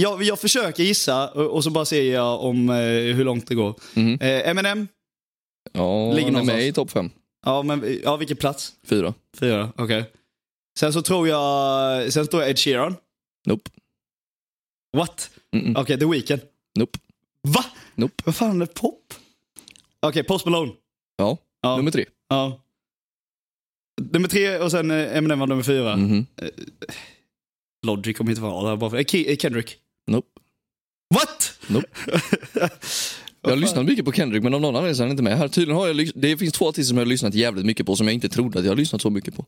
jag, jag försöker gissa och, och så bara ser jag om eh, hur långt det går.
Mhm.
Eh, Eminem.
Ja,
Ligger
han är
någonstans.
med i topp fem.
Ja, men ja, vilken plats?
Fyra.
Fyra, okej. Sen så tror jag, sen så tror jag Ed Sheeran.
Nope.
What?
Mm-mm.
Okej, The Weeknd.
Nope.
Va?
Nope.
Vad fan är pop? Okej, Post Malone.
Ja.
Ja.
Nummer tre.
Ja. Nummer tre och sen eh, Eminem var nummer fyra.
Mhm.
Logic kommer inte vara där bara för... eh, Ke- eh, Kendrick.
Nope.
What?
Nope. Jag har lyssnat mycket på Kendrick men av någon anledning så är han inte med här. Tydligen har jag lys- det finns två artister som jag har lyssnat jävligt mycket på som jag inte trodde att jag har lyssnat så mycket på.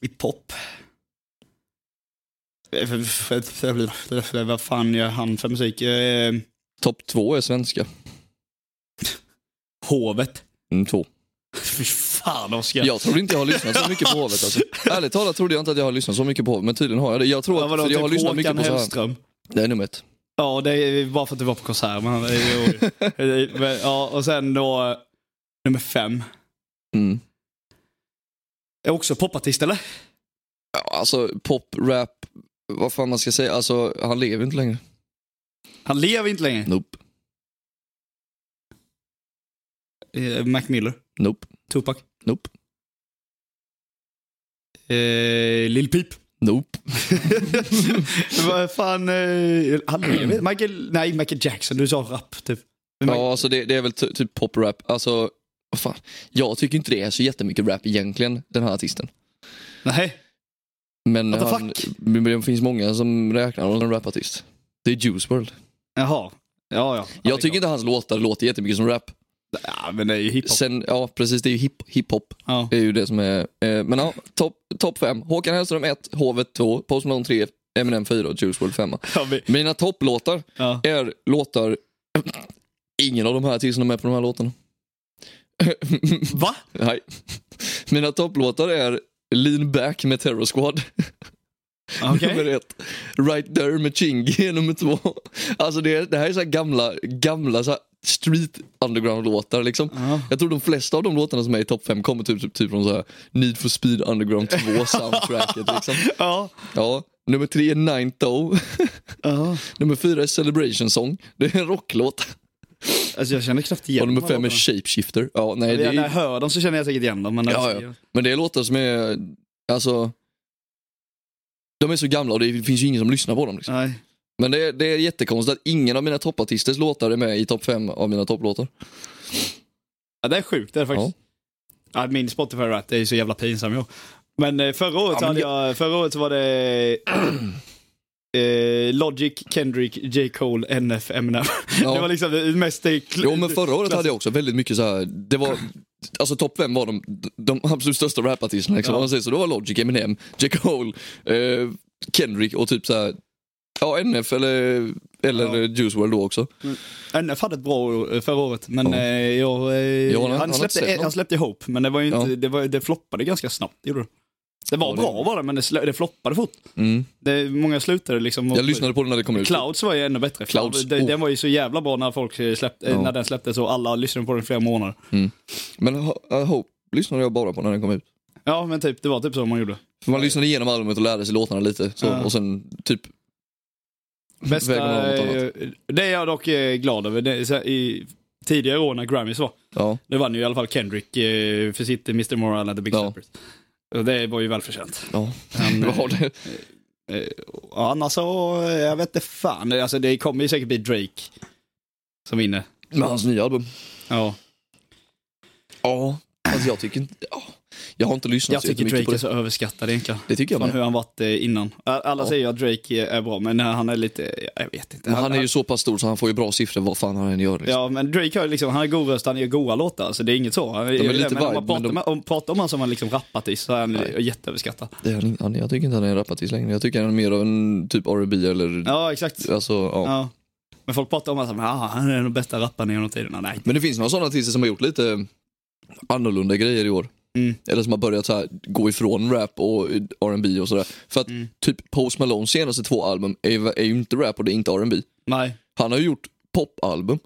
I pop. Eh, för- för- för- för- Vad fan gör han för musik? Eh,
Topp två är svenska.
hovet. <laughs>
Mm, två.
Fy fan Oskar.
Jag tror inte jag har lyssnat
<laughs>
så mycket på hovet alltså. Ärligt talat trodde jag inte att jag har lyssnat så mycket på hovet men tydligen har jag det. Jag tror att,
Ja, vadå,
för jag har
typ
lyssnat
Håkan
mycket på så här.
Hellström.
Det är nummer ett.
Ja, det är bara för att du var på konsert. Men, jo. Men, ja, och sen då eh, nummer fem.
Mm.
Är också popartist eller?
Ja, Alltså pop, rap, vad fan man ska säga. Alltså han lever inte längre.
Han lever inte längre.
Nope.
Eh, Mac Miller.
Nope.
Tupac.
Nope.
Eh, Lil Peep. <laughs>
Nope.
Vad fan... Eh, han lever Michael, Nej, Michael Jackson. Du sa rap typ. Men-
Ja, alltså det, det är väl ty- typ pop, rap. Alltså, vad fan. Jag tycker inte det är så jättemycket rap egentligen, den här artisten.
Nej.
Men,
What the
han,
fuck?
men det finns många som räknar honom som en rapartist. Det är Juice WRLD.
Jaha. Ja, ja.
Jag tycker inte hans låtar låter jättemycket som rap.
Ja, men det är ju hiphop.
Sen, ja precis, det är ju hip, hiphop.
Ja.
Det är ju det som är... Eh, men ja, topp top fem. Håkan Hellström 1, Hovet 2, Post Malone 3, Eminem 4 och Juice WRLD 5.
Ja, vi-
Mina topplåtar
ja.
är låtar... Ingen av de här artisterna är med på de här låtarna. <laughs>
Va?
Nej. Mina topplåtar är Lean Back med Terror Squad, <laughs>
Okej.
nummer ett. Right There med Chingy <laughs> är nummer två. Alltså det, är- det här är så här gamla, gamla så här street underground-låtar liksom.
Ja.
Jag tror de flesta av de låtarna som är i topp 5 kommer typ, typ, typ från så här Need for Speed Underground 2 soundtracket liksom.
Ja.
Ja. Nummer tre är Nine Toe.
ja.
Nummer fyra är Celebration Song. Det är en rocklåt.
Alltså jag känner knappt igen
Och nummer
de här
fem är
låtarna.
Shapeshifter. Ja, nej, det
Ja, När
är
jag hör dem så känner jag säkert igen dem. Men
Ja, ja. Men det är låtar som är, alltså, de är så gamla och det finns ju ingen som lyssnar på dem. Liksom.
Nej.
Men det är, det är jättekonstigt att ingen av mina toppartisters låtar är med i topp fem av mina topplåtar.
Ja, det är sjukt det är det faktiskt. Ja. min Spotify Wrapped är ju så jävla pinsam jag. Men eh, förra året,
Ja, men
hade jag, förra året så var det <clears throat> eh, Logic, Kendrick, J. Cole, NF, Eminem.
Ja.
Det var liksom det mest... eh, Kl-
Jo men förra året hade jag också väldigt mycket så här, det var, alltså topp fem var de, de absolut största rapartisterna liksom.
Ja.
Om man säger så, det var Logic, Eminem, J. Cole, eh, Kendrick och typ så här, ja NF eller, eller
Ja.
Juice WRLD då också.
NF hade ett bra år eh, förra året, men
Ja.
eh, jag, eh,
har- han
han,
har
släppte,
inte sett
eh, han
något.
släppte ihop, men det, var ju inte,
Ja.
det, var, det floppade ganska snabbt. Gjorde det. det var
Ja, det-
bra var det, men det, slä, det floppade fort.
Mm.
Det, många slutade liksom. och-
Jag lyssnade på den när det kom ut.
Clouds var ju ännu bättre.
Mm. Clouds,
Den,
oh.
den var ju så jävla bra när, folk släppte, eh,
Ja.
när den släpptes och alla lyssnade på den i flera månader.
Men Ho- eh, Hope lyssnade jag bara på när den kom ut.
Ja, men typ, det var typ så man gjorde.
För man lyssnade igenom albumet och lärde sig låtarna lite. Så,
Ja.
Och sen typ...
Bästa,
Vägen var något annat.
eh, det är jag dock eh, glad över. Det, är så här, i, tidigare år när Grammys var.
Ja.
Det vann ju i alla fall Kendrick eh, för sitt Mr. Moral and the Big
Ja.
Steppers. Och det var ju välförtjänt.
Ja.
Han,
<laughs> Vad har det?
eh, och annars så, eh, jag vet inte fan. Alltså det kommer ju säkert bli Drake som vinner.
Med hans nya album?
Ja.
Ja. Alltså jag tycker inte... Ja. Jag har inte lyssnat
Jag
så
tycker
jättemycket
Drake är
på
så överskattad egentligen.
det. Det tycker jag
Från
med.
hur han varit eh, innan. Ä- Alla
Ja.
säger att Drake är bra, men eh, han är lite, jag vet inte.
Men han är ju så pass stor så han får ju bra siffror vad fan han än gör. Liksom.
Ja, men Drake har ju liksom, han är god röst, han gör goa låtar, så det är inget så. Han-
är lite
men om
vibe,
man pratar,
men de-
med, om, pratar om han som han liksom rappat i så är han jätteöverskattad.
Det är han, inte- han, jag tycker inte han är en rapartist längre. Jag tycker han är mer av en typ R&B eller...
Ja, exakt.
Alltså, ja.
Ja. Men folk pratar om honom som ah, han är den bästa rapparen genom tiderna. Nej.
Men det finns några sådana artister som har gjort lite annorlunda grejer i år.
Mm.
Eller som har börjat så här, gå ifrån rap och R&B och sådär. För att
Mm.
typ Post Malones senaste två album är ju, är ju inte rap och det är inte R&B.
Nej.
Han har ju gjort popalbum.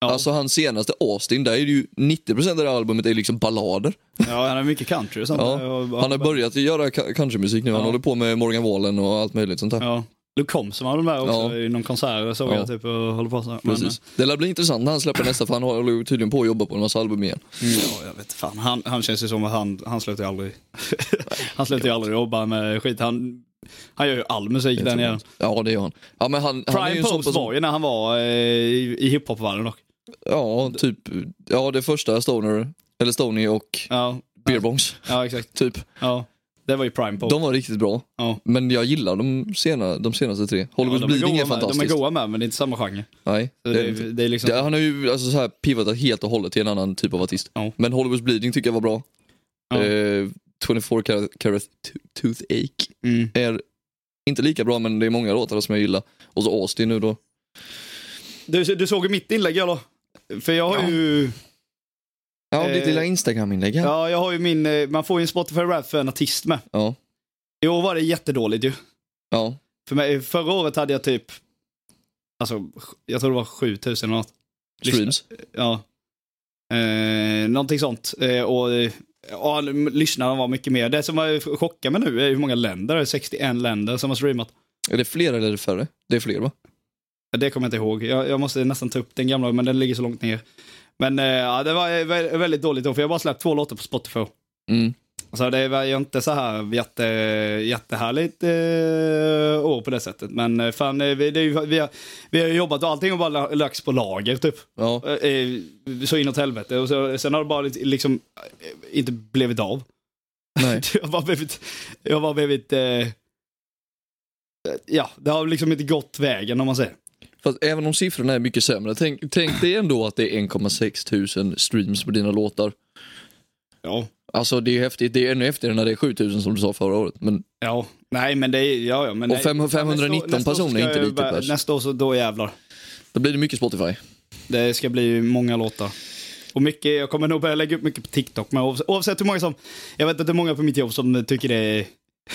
Ja.
Alltså hans senaste Austin, där är det ju 90% av det här albumet är liksom ballader.
ja, han är mycket country och sånt.
Ja.
Och- och-
Han har börjat göra ka- countrymusik nu, han
Ja.
håller på med Morgan Wallen och allt möjligt sånt där.
Ja. Luke Combs var väl med också
Ja.
i någon konsert och såg
Ja.
jag typ och håller på så. Men,
Precis. Det lär bli intressant när han släpper nästa för han håller ju tydligen på att jobba på en massa album igen.
eh, Ja, jag vet fan. Han, han känns ju som att han, han slutar ju aldrig. <laughs> han slutar ju aldrig jobba med skit. Han, han gör ju all musik den igen.
Ja det gör han. Ja, men han, han är ju
Prime
en sån
Post
person-
var ju när han var eh, i, i hiphopvärlden dock.
Ja, typ. Ja, det första Stoner, eller Stony och
Ja,
Beerbongs,
ja exakt.
typ.
Ja. Det var ju Prime Post.
De var riktigt bra.
Ja.
Men jag gillar de, sena, de senaste tre. Hollywood
Ja, de, är
Bleeding
goa
är
med, de är
fantastiskt.
goa med men det är inte samma genre.
Nej,
Så
det
det,
är det
är-
inte.
det är liksom...
det, han har ju alltså, så här, pivotat helt och hållet till en annan typ av artist.
Ja.
Men Hollywood Bleeding tycker jag var bra.
Ja.
Eh, 24 Karat Karat Toothache
Mm.
är inte lika bra men det är många låtar som jag gillar. Och så Austin nu då.
Du, du såg ju mitt inlägg eller? För jag har
Ja.
ju...
Ja,
Eh,
ditt lilla Instagram-inlägg här.
Ja, jag har ju min, eh, man får ju en Spotify Rap för en artist med.
Ja.
I år var det jättedåligt ju.
ja.
För mig, förra året hade jag typ, alltså jag tror det var 7000 eller något. Lyssna.
Streams.
Ja. Eh, någonting sånt. Eh, och eh, ja, lyssnarna var mycket mer. Det som har chockat mig nu är hur många länder, det är 61 länder som har streamat.
Är det fler eller är det färre? Det är fler va?
Det kommer jag inte ihåg. Jag, jag måste nästan ta upp den gamla, men den ligger så långt ner. Men eh, ja, det var eh, vä- väldigt dåligt då, för jag har bara släppt två låtar på Spotify.
Mm.
Så det var ju inte så här jätte, jättehärligt eh, år på det sättet. Men eh, fan, eh, vi, det är ju, vi, har, vi har jobbat och allting har bara la- lagts på lager typ.
Ja.
Eh, eh, Så inåt helvete. Och så, sen har det bara lite- liksom eh, inte blivit av.
Nej.
<laughs> Jag har bara blivit, jag har bara blivit eh, ja, det har liksom inte gått vägen om man säger.
Fast även om siffrorna är mycket sämre, tänk, tänk dig ändå att det är 1,6 tusen streams på dina låtar.
Ja.
Alltså det är ju häftigt, det är ännu häftigare när det är 7 000 som du sa förra året. Men
Ja, nej men det är, ja ja. Men
Och
nej.
fem- 519
Nästa år- nästa år
personer är
ska
inte
jag-
lite pers.
Nästa år så, då jävlar.
då blir det mycket Spotify.
Det ska bli många låtar. Och mycket, jag kommer nog börja lägga upp mycket på TikTok. Men oavs- oavsett hur många som, jag vet att det är många på mitt jobb som tycker det är <laughs>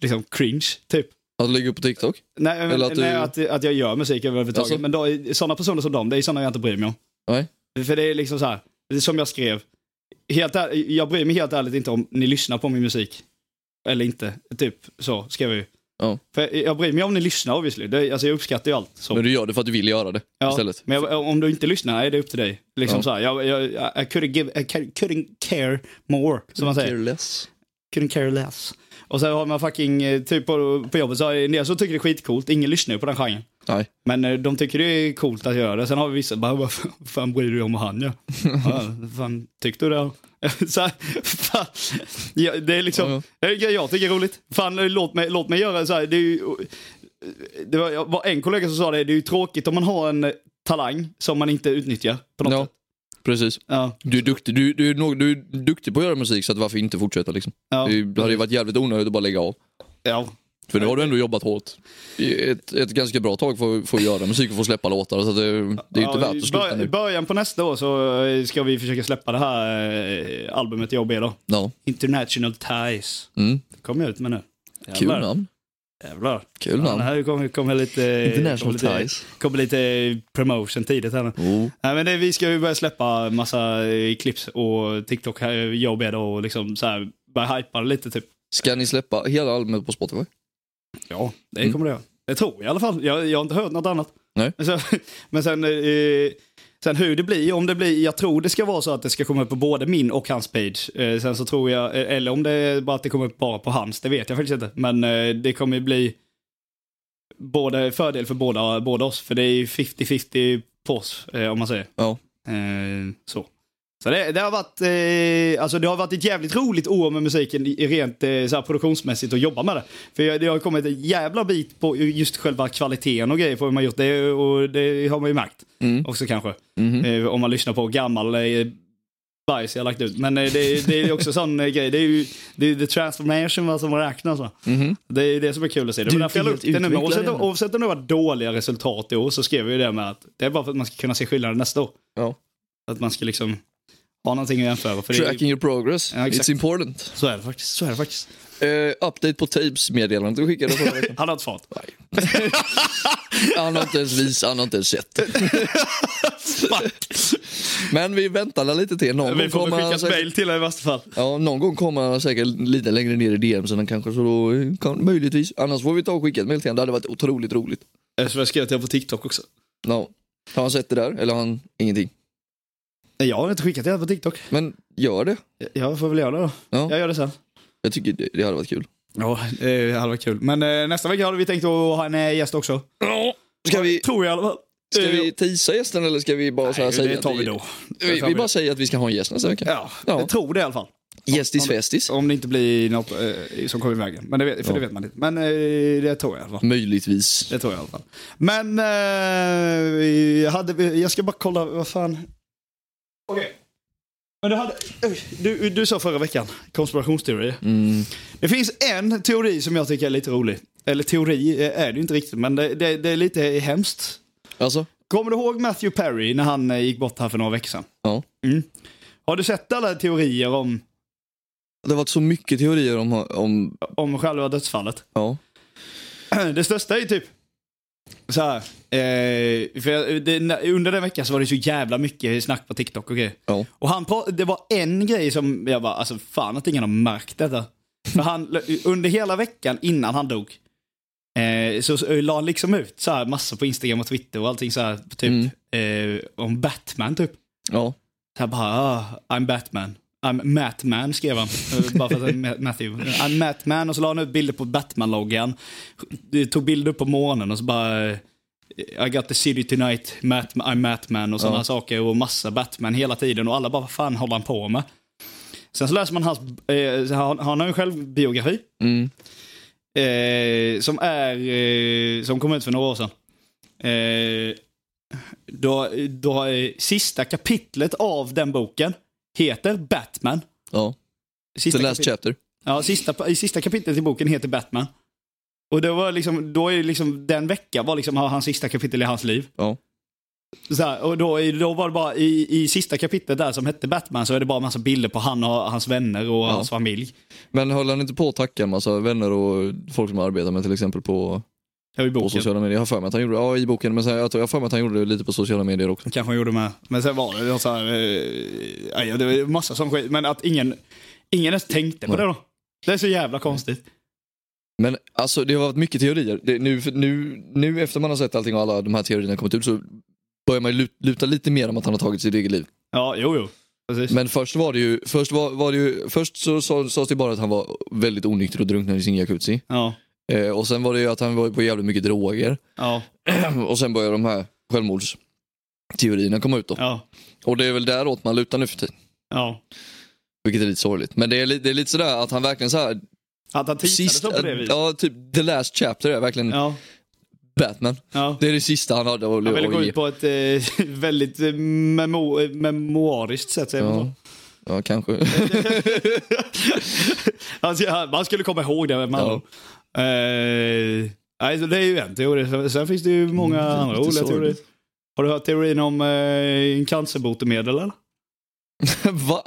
liksom cringe, typ.
Att lägga upp på TikTok?
Nej, men,
Eller att du-
nej att, att jag gör musik överhuvudtaget.
Alltså-
Men då, sådana personer som dem, det är sådana jag inte bryr mig om.
Nej.
För det är liksom så här, det är som jag skrev. Helt är, jag bryr mig helt ärligt inte om ni lyssnar på min musik. Eller inte, typ så skrev jag ju.
Ja.
För jag bryr mig om ni lyssnar obviously. Det, alltså jag uppskattar ju allt. Så.
Men du gör det för att du vill göra det
Ja,
istället.
Men jag, om du inte lyssnar, nej, det är upp till dig. Liksom
Ja.
så här, jag, jag, I couldn't, give, I couldn't care more, som man säger.
Careless.
Couldn't care less. Och så har man fucking, eh, typ på, på jobbet, så har en del som tycker det är skitcoolt, ingen lyssnar ju på den genren.
Nej.
Men eh, de tycker det är coolt att göra det. Sen har vi vissa, bara, <laughs> vad fan- fan bryr du dig om vad
<laughs>
han gör? Ja, fan, tyckte du det? <laughs> Så här, fan, ja, det är liksom,
Ja,
det är grejer jag tycker det är roligt. Fan, eh, låt mig, låt mig göra så här. Det, är ju, eh, det var, jag var en kollega som sa det, det är ju tråkigt om man har en eh, talang som man inte utnyttjar på något
Ja,
sätt.
precis.
Ja,
Du är, duktig, du, du, är nog, du är duktig på att göra musik så att varför inte fortsätta liksom?
ja,
Det hade ju varit jävligt onödigt att bara lägga av.
ja.
För nu har du ändå jobbat hårt i ett, ett ganska bra tag för, för att göra musik och få släppa låtar. Så att det, det är ju inte
Ja,
värt
i
att sluta
bör- I
nu.
början på nästa år så eh, ska vi försöka släppa det här eh, albumet jag och B då.
Ja.
International Ties.
Mm.
Det kommer jag ut med nu. Jävlar.
Kul alltså. namn.
Jävlar.
Kul
Ja,
namn.
det här kommer, kommer lite...
International
kommer lite,
Ties.
kommer lite promotion tidigt här nu.
Oh.
Nej, men det, vi ska ju börja släppa massa eh, klipps och TikTok, här, jag och Beda och liksom så här, börja hypa det lite typ.
Ska ni släppa hela albumet på Spotify?
Ja, det <laughs>
Mm.
kommer det göra. Det tror jag i alla fall. Jag, jag har inte hört något annat.
Nej.
Men sen, men sen, eh, Sen hur det blir, om det blir, jag tror det ska vara så att det ska komma upp på både min och hans page. Eh, sen så tror jag, eh, eller om det är bara att det kommer upp bara på hans, det vet jag faktiskt inte. Men eh, det kommer ju bli både fördel för båda, båda oss, för det är ju 50-50 på oss, eh, om man säger.
Ja.
Eh, så. Så det, det har varit, eh, alltså det har varit ett jävligt roligt år med musiken i- rent eh, så här produktionsmässigt att jobba med det. För jag, det har kommit en jävla bit på just själva kvaliteten och grejer på hur man gjort det och det har man ju märkt
Mm.
också kanske.
Mhm.
Eh, om man lyssnar på gammal eh, bajs jag har lagt ut. Men eh, det, det är ju också sån eh, grej, det är ju det är the transformation va, som man räknas va.
Mhm.
Det är det som är kul att se. Det
Du
var därför jag la upp
är helt
det nu.
utvecklad
Men Oavsett,
redan.
oavsett om det var dåliga resultat i år så skrev jag ju det med att det är bara för att man ska kunna se skillnaden nästa år.
Ja.
Att man ska liksom ha någonting att jämföra. För det är,
Tracking your progress,
Ja, exakt.
it's important.
så är det faktiskt. Så är det faktiskt.
Eh, update på tapes-meddelandet du skickade förra veckan.
Han har inte fart.
Han har inte ens visat, han har inte ens sett. Men vi väntar väl lite till. Någon
Vi
gång
får
kommer
väl skicka
han
ett
säkert,
mejl till er i värsta fall.
ja, någon gång kommer han säkert lite längre ner i DM sen kanske. Så då eh, kan, möjligtvis. Annars får vi ta och skicka ett mejl till honom. Det hade varit otroligt roligt.
Eller så har jag skrivit det på TikTok också.
Ja. Har han sett det där? Eller har han ingenting?
Nej, Jag har inte skickat det på TikTok.
Men gör det.
Jag får väl göra det då.
Ja.
Jag gör det sen.
Jag tycker det, det hade varit kul.
Ja, det hade varit kul. Men eh, nästa vecka har vi tänkt att ha en eh, gäst också.
Ska vi,
Tror jag i alla fall.
ska
Eh,
vi teasa gästen eller ska vi bara så här
Nej,
säga
det tar
att
vi då.
Vi, vi bara säger att vi ska ha en gäst nästa vecka.
Ja,
Ja.
jag tror det i alla fall.
Gästis festis.
Om det inte blir något eh, som kommer i vägen. Men det vet, för
Ja.
det vet man inte. Men eh, det tror jag i alla fall.
Möjligtvis.
Det tror jag i alla fall. Men eh, vi hade, vi- jag ska bara kolla, vad fan. Okej. Men du hade, oj, du, du sa förra veckan, konspirationsteorier.
Mm.
Det finns en teori som jag tycker är lite rolig. Eller teori eh, är det ju inte riktigt, men det, det, det är lite hemskt.
Alltså?
Kommer du ihåg Matthew Perry när han eh, gick bort här för några veckor sedan?
Ja.
Mm. Har du sett alla teorier om,
Det har varit så mycket teorier om... om
om själva dödsfallet? <clears throat>
ja.
Det största är ju typ så här. Eh, för jag, det, när- under den veckan så var det så jävla mycket snack på TikTok och grejer.
ja.
Och han pra- det var en grej som jag bara, alltså fan att ingen har märkt detta. För han, under hela veckan innan han dog eh, så, så la han liksom ut så här massor på Instagram och Twitter och allting så här typ eh, om Batman typ.
Ja.
Så här bara, ah, I'm Batman. I'm Matman skrev han. Eh, Bara för att han är Ma- Matthew. I'm Matman och så la han ut bilder på Batman-loggan. Eh, Tog bilder på månen och så bara eh, I got the city tonight, Mat- I'm Matman och sådana
Ja.
saker och massa Batman hela tiden och alla bara vad fan håller han på med? Sen så läser man hans, eh, så han, han har ju själv biografi
Mm.
eh, som är, eh, som kom ut för några år sedan. Eh, då, då, eh, sista kapitlet av den boken heter Batman.
ja.
Sista
The last
kapit-
chapter.
Ja, sista, i sista kapitlet i boken heter Batman. Och det var liksom, då är det liksom, den veckan var liksom hans sista kapitel i hans liv.
Ja.
Så här, och då, är- då var det bara, i, i sista kapitlet där som hette Batman så är det bara massa bilder på han och hans vänner och hans familj.
Men höll han inte på att tacka en massa vänner och folk som arbetar med till exempel på,
Det var i
på
boken.
sociala medier? Jag har för mig att han gjorde det. Ja, i boken. Men sen, jag tror- jag har för mig att han gjorde det lite på sociala medier också.
Kanske han gjorde med. Men sen var det så här, eh, aj, det var massa sån skit. Men att ingen, ingen ens tänkte på det då. Det är så jävla konstigt.
Men alltså det har varit mycket teorier. Det, nu, nu, nu efter man har sett allting och alla de här teorierna kommit ut så börjar man ju lut- luta lite mer om att han har tagit sitt eget liv.
Ja, jo, jo. Precis.
Men först var det ju, först var, var det ju, först så sa- sades det bara att han var väldigt onykter och drunknade i sin jacuzzi.
Ja,
Eh, och sen var det ju att han var på jävligt mycket droger. <clears throat>
ja,
Och sen börjar de här självmordsteorierna komma ut då.
ja,
Och det är väl däråt man lutar nu för tiden.
ja.
Vilket är lite sorgligt. Men det är, li- det är lite sådär att han verkligen såhär...
Att han tittade så på det viset.
ja, typ the last chapter är verkligen
Ja,
Batman.
ja.
Det är det sista han hade att
Han ville gå
att
ut på ett eh, <laughs> väldigt eh, memo, eh, memoariskt sätt, säger man
Ja.
så.
ja, kanske. <laughs>
Han skulle- han- Alltså, Man skulle komkomma ihåg det. Man.
Ja.
Eh, nej, så det är ju en teori. Sen- Sen finns det ju många
Mm, det är
andra
lite
roliga teorier. Har du hört teorin om eh, cancerbotemedel? Eller?
Va?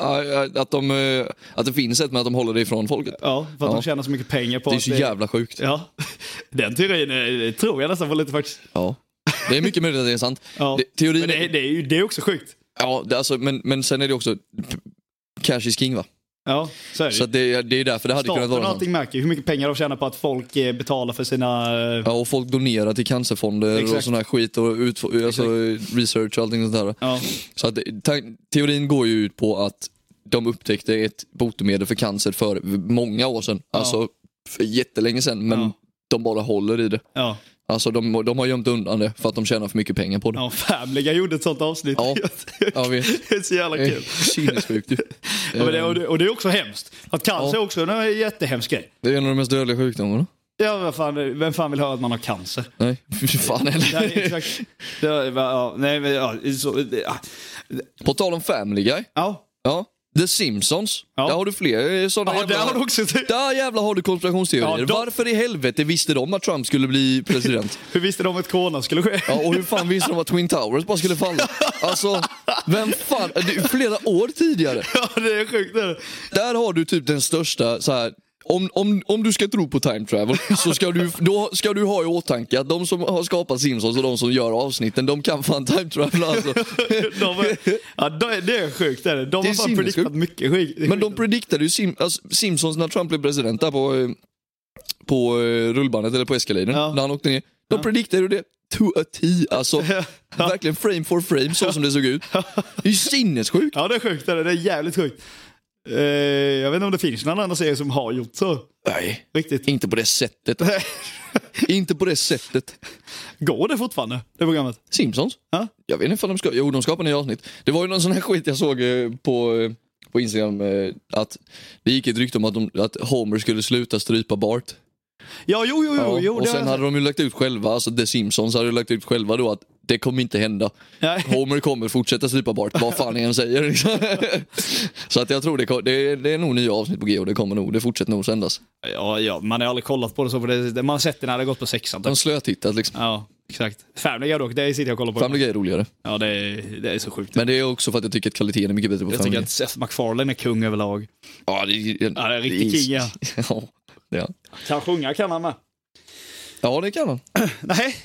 Att, de, eh, att det finns ett men att de håller det ifrån folket.
Ja, för att
Ja.
de tjänar så mycket pengar på
Det är
att...
så jävla sjukt.
Ja, <laughs> den teorin eh, tror jag nästan på lite faktiskt.
Ja. Det är mycket möjligt att det är sant.
<laughs> Ja.
Det, teorin...
Men det, är- det, är ju, det är också sjukt.
Ja, det, alltså, men, men sen är det också... Cash is king va?
Ja, så är det
Så
ju.
att det, det är därför det hade
Staten
kunnat
och
vara något.
allting märker ju hur mycket pengar de tjänar på att folk eh, betalar för sina... eh,
Ja, och folk donerar till cancerfonder och
Exakt.
sån här skit och utf- alltså, research och allting sånt där.
Ja.
Så att, ta- teorin går ju ut på att de upptäckte ett botemedel för cancer för många år sedan. Alltså för jättelänge sedan, men
Ja.
de bara håller i det.
Ja.
Alltså de, de har gömt undan det för att de tjänar för mycket pengar på det.
ja, Family Guy gjorde ett sånt avsnitt. <laughs>
Ja. Eh, Jag vet.
det är så jävla
Det är
kul.
Sinnessjukt ju.
Ja, men det, och, det, och det är också hemskt. Att cancer är också är en jättehemsk grej.
Det är en av de mest dödliga sjukdomarna.
Ja, vad fan, vem fan vill höra att man har cancer?
Nej, <laughs> fy fan
Nej,
<laughs> heller.
exakt. Det, var- ja, nej, men, ja, så, det, ja.
På tal om Family Guy.
ja.
Ja. The Simpsons.
Ja.
Där har du fler sådana
Ja, där har du också...
Där jävlar har du konspirationsteorier.
Ja, de-
Varför i helvete visste de att Trump skulle bli
<laughs>
president?
Hur visste de att corona skulle ske?
Ja, och hur fan visste de att Twin Towers bara skulle falla? Alltså, vem fan? Det är flera år tidigare.
<laughs> Ja, det är sjukt. Det är det.
Där har du typ den största, så här, om, om, om du ska tro på time travel så ska du, då ska du ha i åtanke att de som har skapat Simpsons och de som gör avsnitten, de kan fan time travel alltså.
De är, ja, de är, det är sjukt. Det är det. De
Det är
har fan
sinnessjukt.
predikat mycket skit.
Men de prediktade ju Sim, alltså, Simpsons när Trump blev president där på, eh, på eh, rullbandet eller på Escaladen,
Ja.
när han åkte ner. De prediktade ju det to a T, alltså verkligen frame for frame så som det såg ut. Det är ju
<laughs>
sinnessjukt.
Ja, det är sjukt. Det är, det. Det är jävligt sjukt. Eh, jag vet inte om det finns någon annan serie som har gjort så.
Nej,
Riktigt.
inte på det sättet. inte på det sättet.
Går det fortfarande, det programmet?
Simpsons?
Ja.
Jag vet inte om de ska... Jo, de skapar nya avsnitt. Det var ju någon sån här skit jag såg eh, på, eh, på Instagram. eh, Att det gick ett rykte om att, de, att Homer skulle sluta strypa Bart.
Ja, jo, jo, jo. jo
och
det
sen
har jag
hade de ju lagt ut själva, alltså The Simpsons hade ju lagt ut själva då att det kommer inte hända.
Nej.
Homer kommer fortsätta strypa Bart, vad fan ni än säger.
<laughs>
liksom. Så att jag tror det, kom, det, det är nog nya avsnitt på G och det kommer nog, det fortsätter nog sändas.
sett. ja, ja, man har aldrig kollat på det så. För det, man har sett det när det har gått på sexan. Typ.
De slötittat liksom.
Ja, exakt. Family Guy dock, det sitter jag och kollar på.
Family Guy är roligare.
Ja, det är, det är så sjukt.
Men det är också för att jag tycker att kvaliteten är mycket bättre på
jag
Family
tycker
Guy.
att Seth MacFarlane är kung överlag.
Ja, det är,
Ja, det är riktigt king, ja.
<laughs> ja. det är han.
Kan sjunga kan han med.
ja, det kan han.
Nej.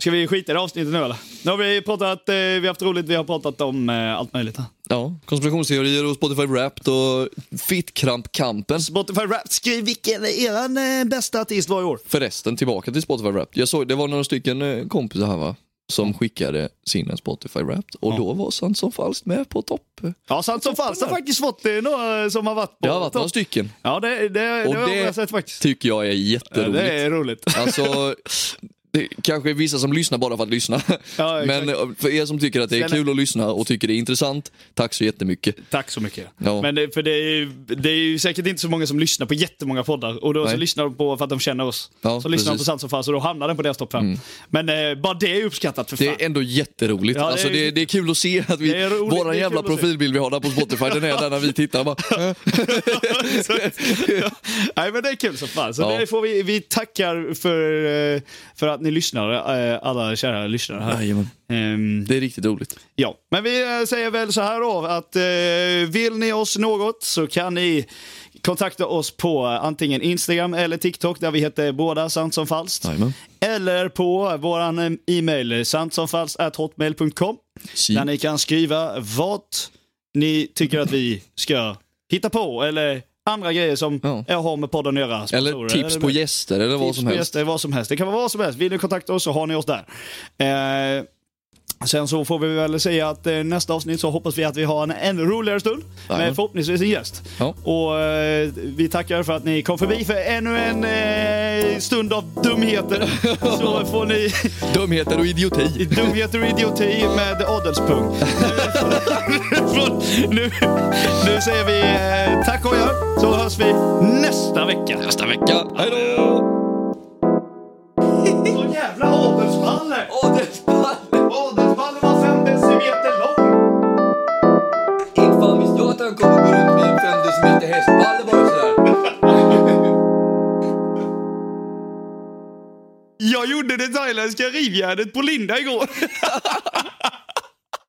Ska vi skita i det avsnittet nu eller? Nu har vi pratat, eh, vi har haft roligt, vi har pratat om eh, allt möjligt här.
Ja, konspirationsteorier och Spotify Wrapped och Fittkramp-kampen.
Spotify Rap, skriv vilken är er eh, bästa artist var i år?
Förresten, tillbaka till Spotify Wrapped. Jag såg, det var några stycken eh, kompisar här va, som skickade sin en Spotify Wrapped och då var Sant som falskt med på topp.
Ja, sant som falskt har faktiskt fått eh, några eh, som har varit på
Det har varit
topp.
några stycken.
Ja, det, det,
Och
det har
det-
jag sett faktiskt.
Tycker jag är
Ja,
jätteroligt.
det är roligt.
Alltså, det kanske är vissa som lyssnar bara för att lyssna.
Ja, exakt.
Men eh, för er som tycker att det är
Sen-
kul att lyssna och tycker det är intressant, tack så jättemycket.
Tack så mycket.
Ja.
Men det, för det är, ju- det är ju säkert inte så många som lyssnar på jättemånga poddar. Och då så
Nej.
lyssnar de på för att de känner oss.
Ja,
så lyssnar de på
precis. Mm.
Sant som falskt och då hamnar den på deras topp 5. Men eh, bara det är uppskattat för fan.
Det är ändå jätteroligt.
Ja, det är-
alltså, det, är, det är kul att se att vi,
Det är roligt, det
våran
är
jävla
kul att se.
profilbild vi har där på Spotify, den är där när vi
<laughs>
tittar. Bara, eh,
ja. Nej men det är kul som fan. Så
Ja.
det får vi, vi tackar för, eh, för att ni lyssnar, eh, alla kära lyssnare här.
jajamän.
Ehm,
det är riktigt roligt.
Ja, men vi eh, säger väl så här då att eh, vill ni oss något så kan ni kontakta oss på eh, antingen Instagram eller TikTok där vi heter båda sant som falskt.
Jajamän.
Eller på våran eh, e-mail sant som falskt hotmail.com
Si.
där ni kan skriva vad ni tycker att vi ska hitta på eller andra grejer som
Ja.
jag har med podden att göra.
Eller
Sponsorer,
tips på gäster eller vad
Tips
som
på
helst.
gäster, vad som helst. Det kan vara vad som helst. Vill ni kontakta oss så har ni oss där. Eh, sen så får vi väl säga att eh, nästa avsnitt så hoppas vi att vi har en ännu roligare stund med
Jajamän.
förhoppningsvis en gäst.
Ja.
Och eh, vi tackar för att ni kom förbi för ännu en eh, stund av
<laughs>
dumheter. Så får ni
Dumheter och idioti.
dumheter och idioti med adelspung. nu, nu säger vi eh, tack och gör så hörs vi nästa vecka.
Nästa vecka. Hej då!
Så jävla adelspalle!
Adelspalle!
Adelspalle var fem decimeter lång!
Inte fan visste jag att han kommer gå runt med en 5 decimeter hästpalle bara sådär.
Jag gjorde det thailändska rivjärnet på Linda igår.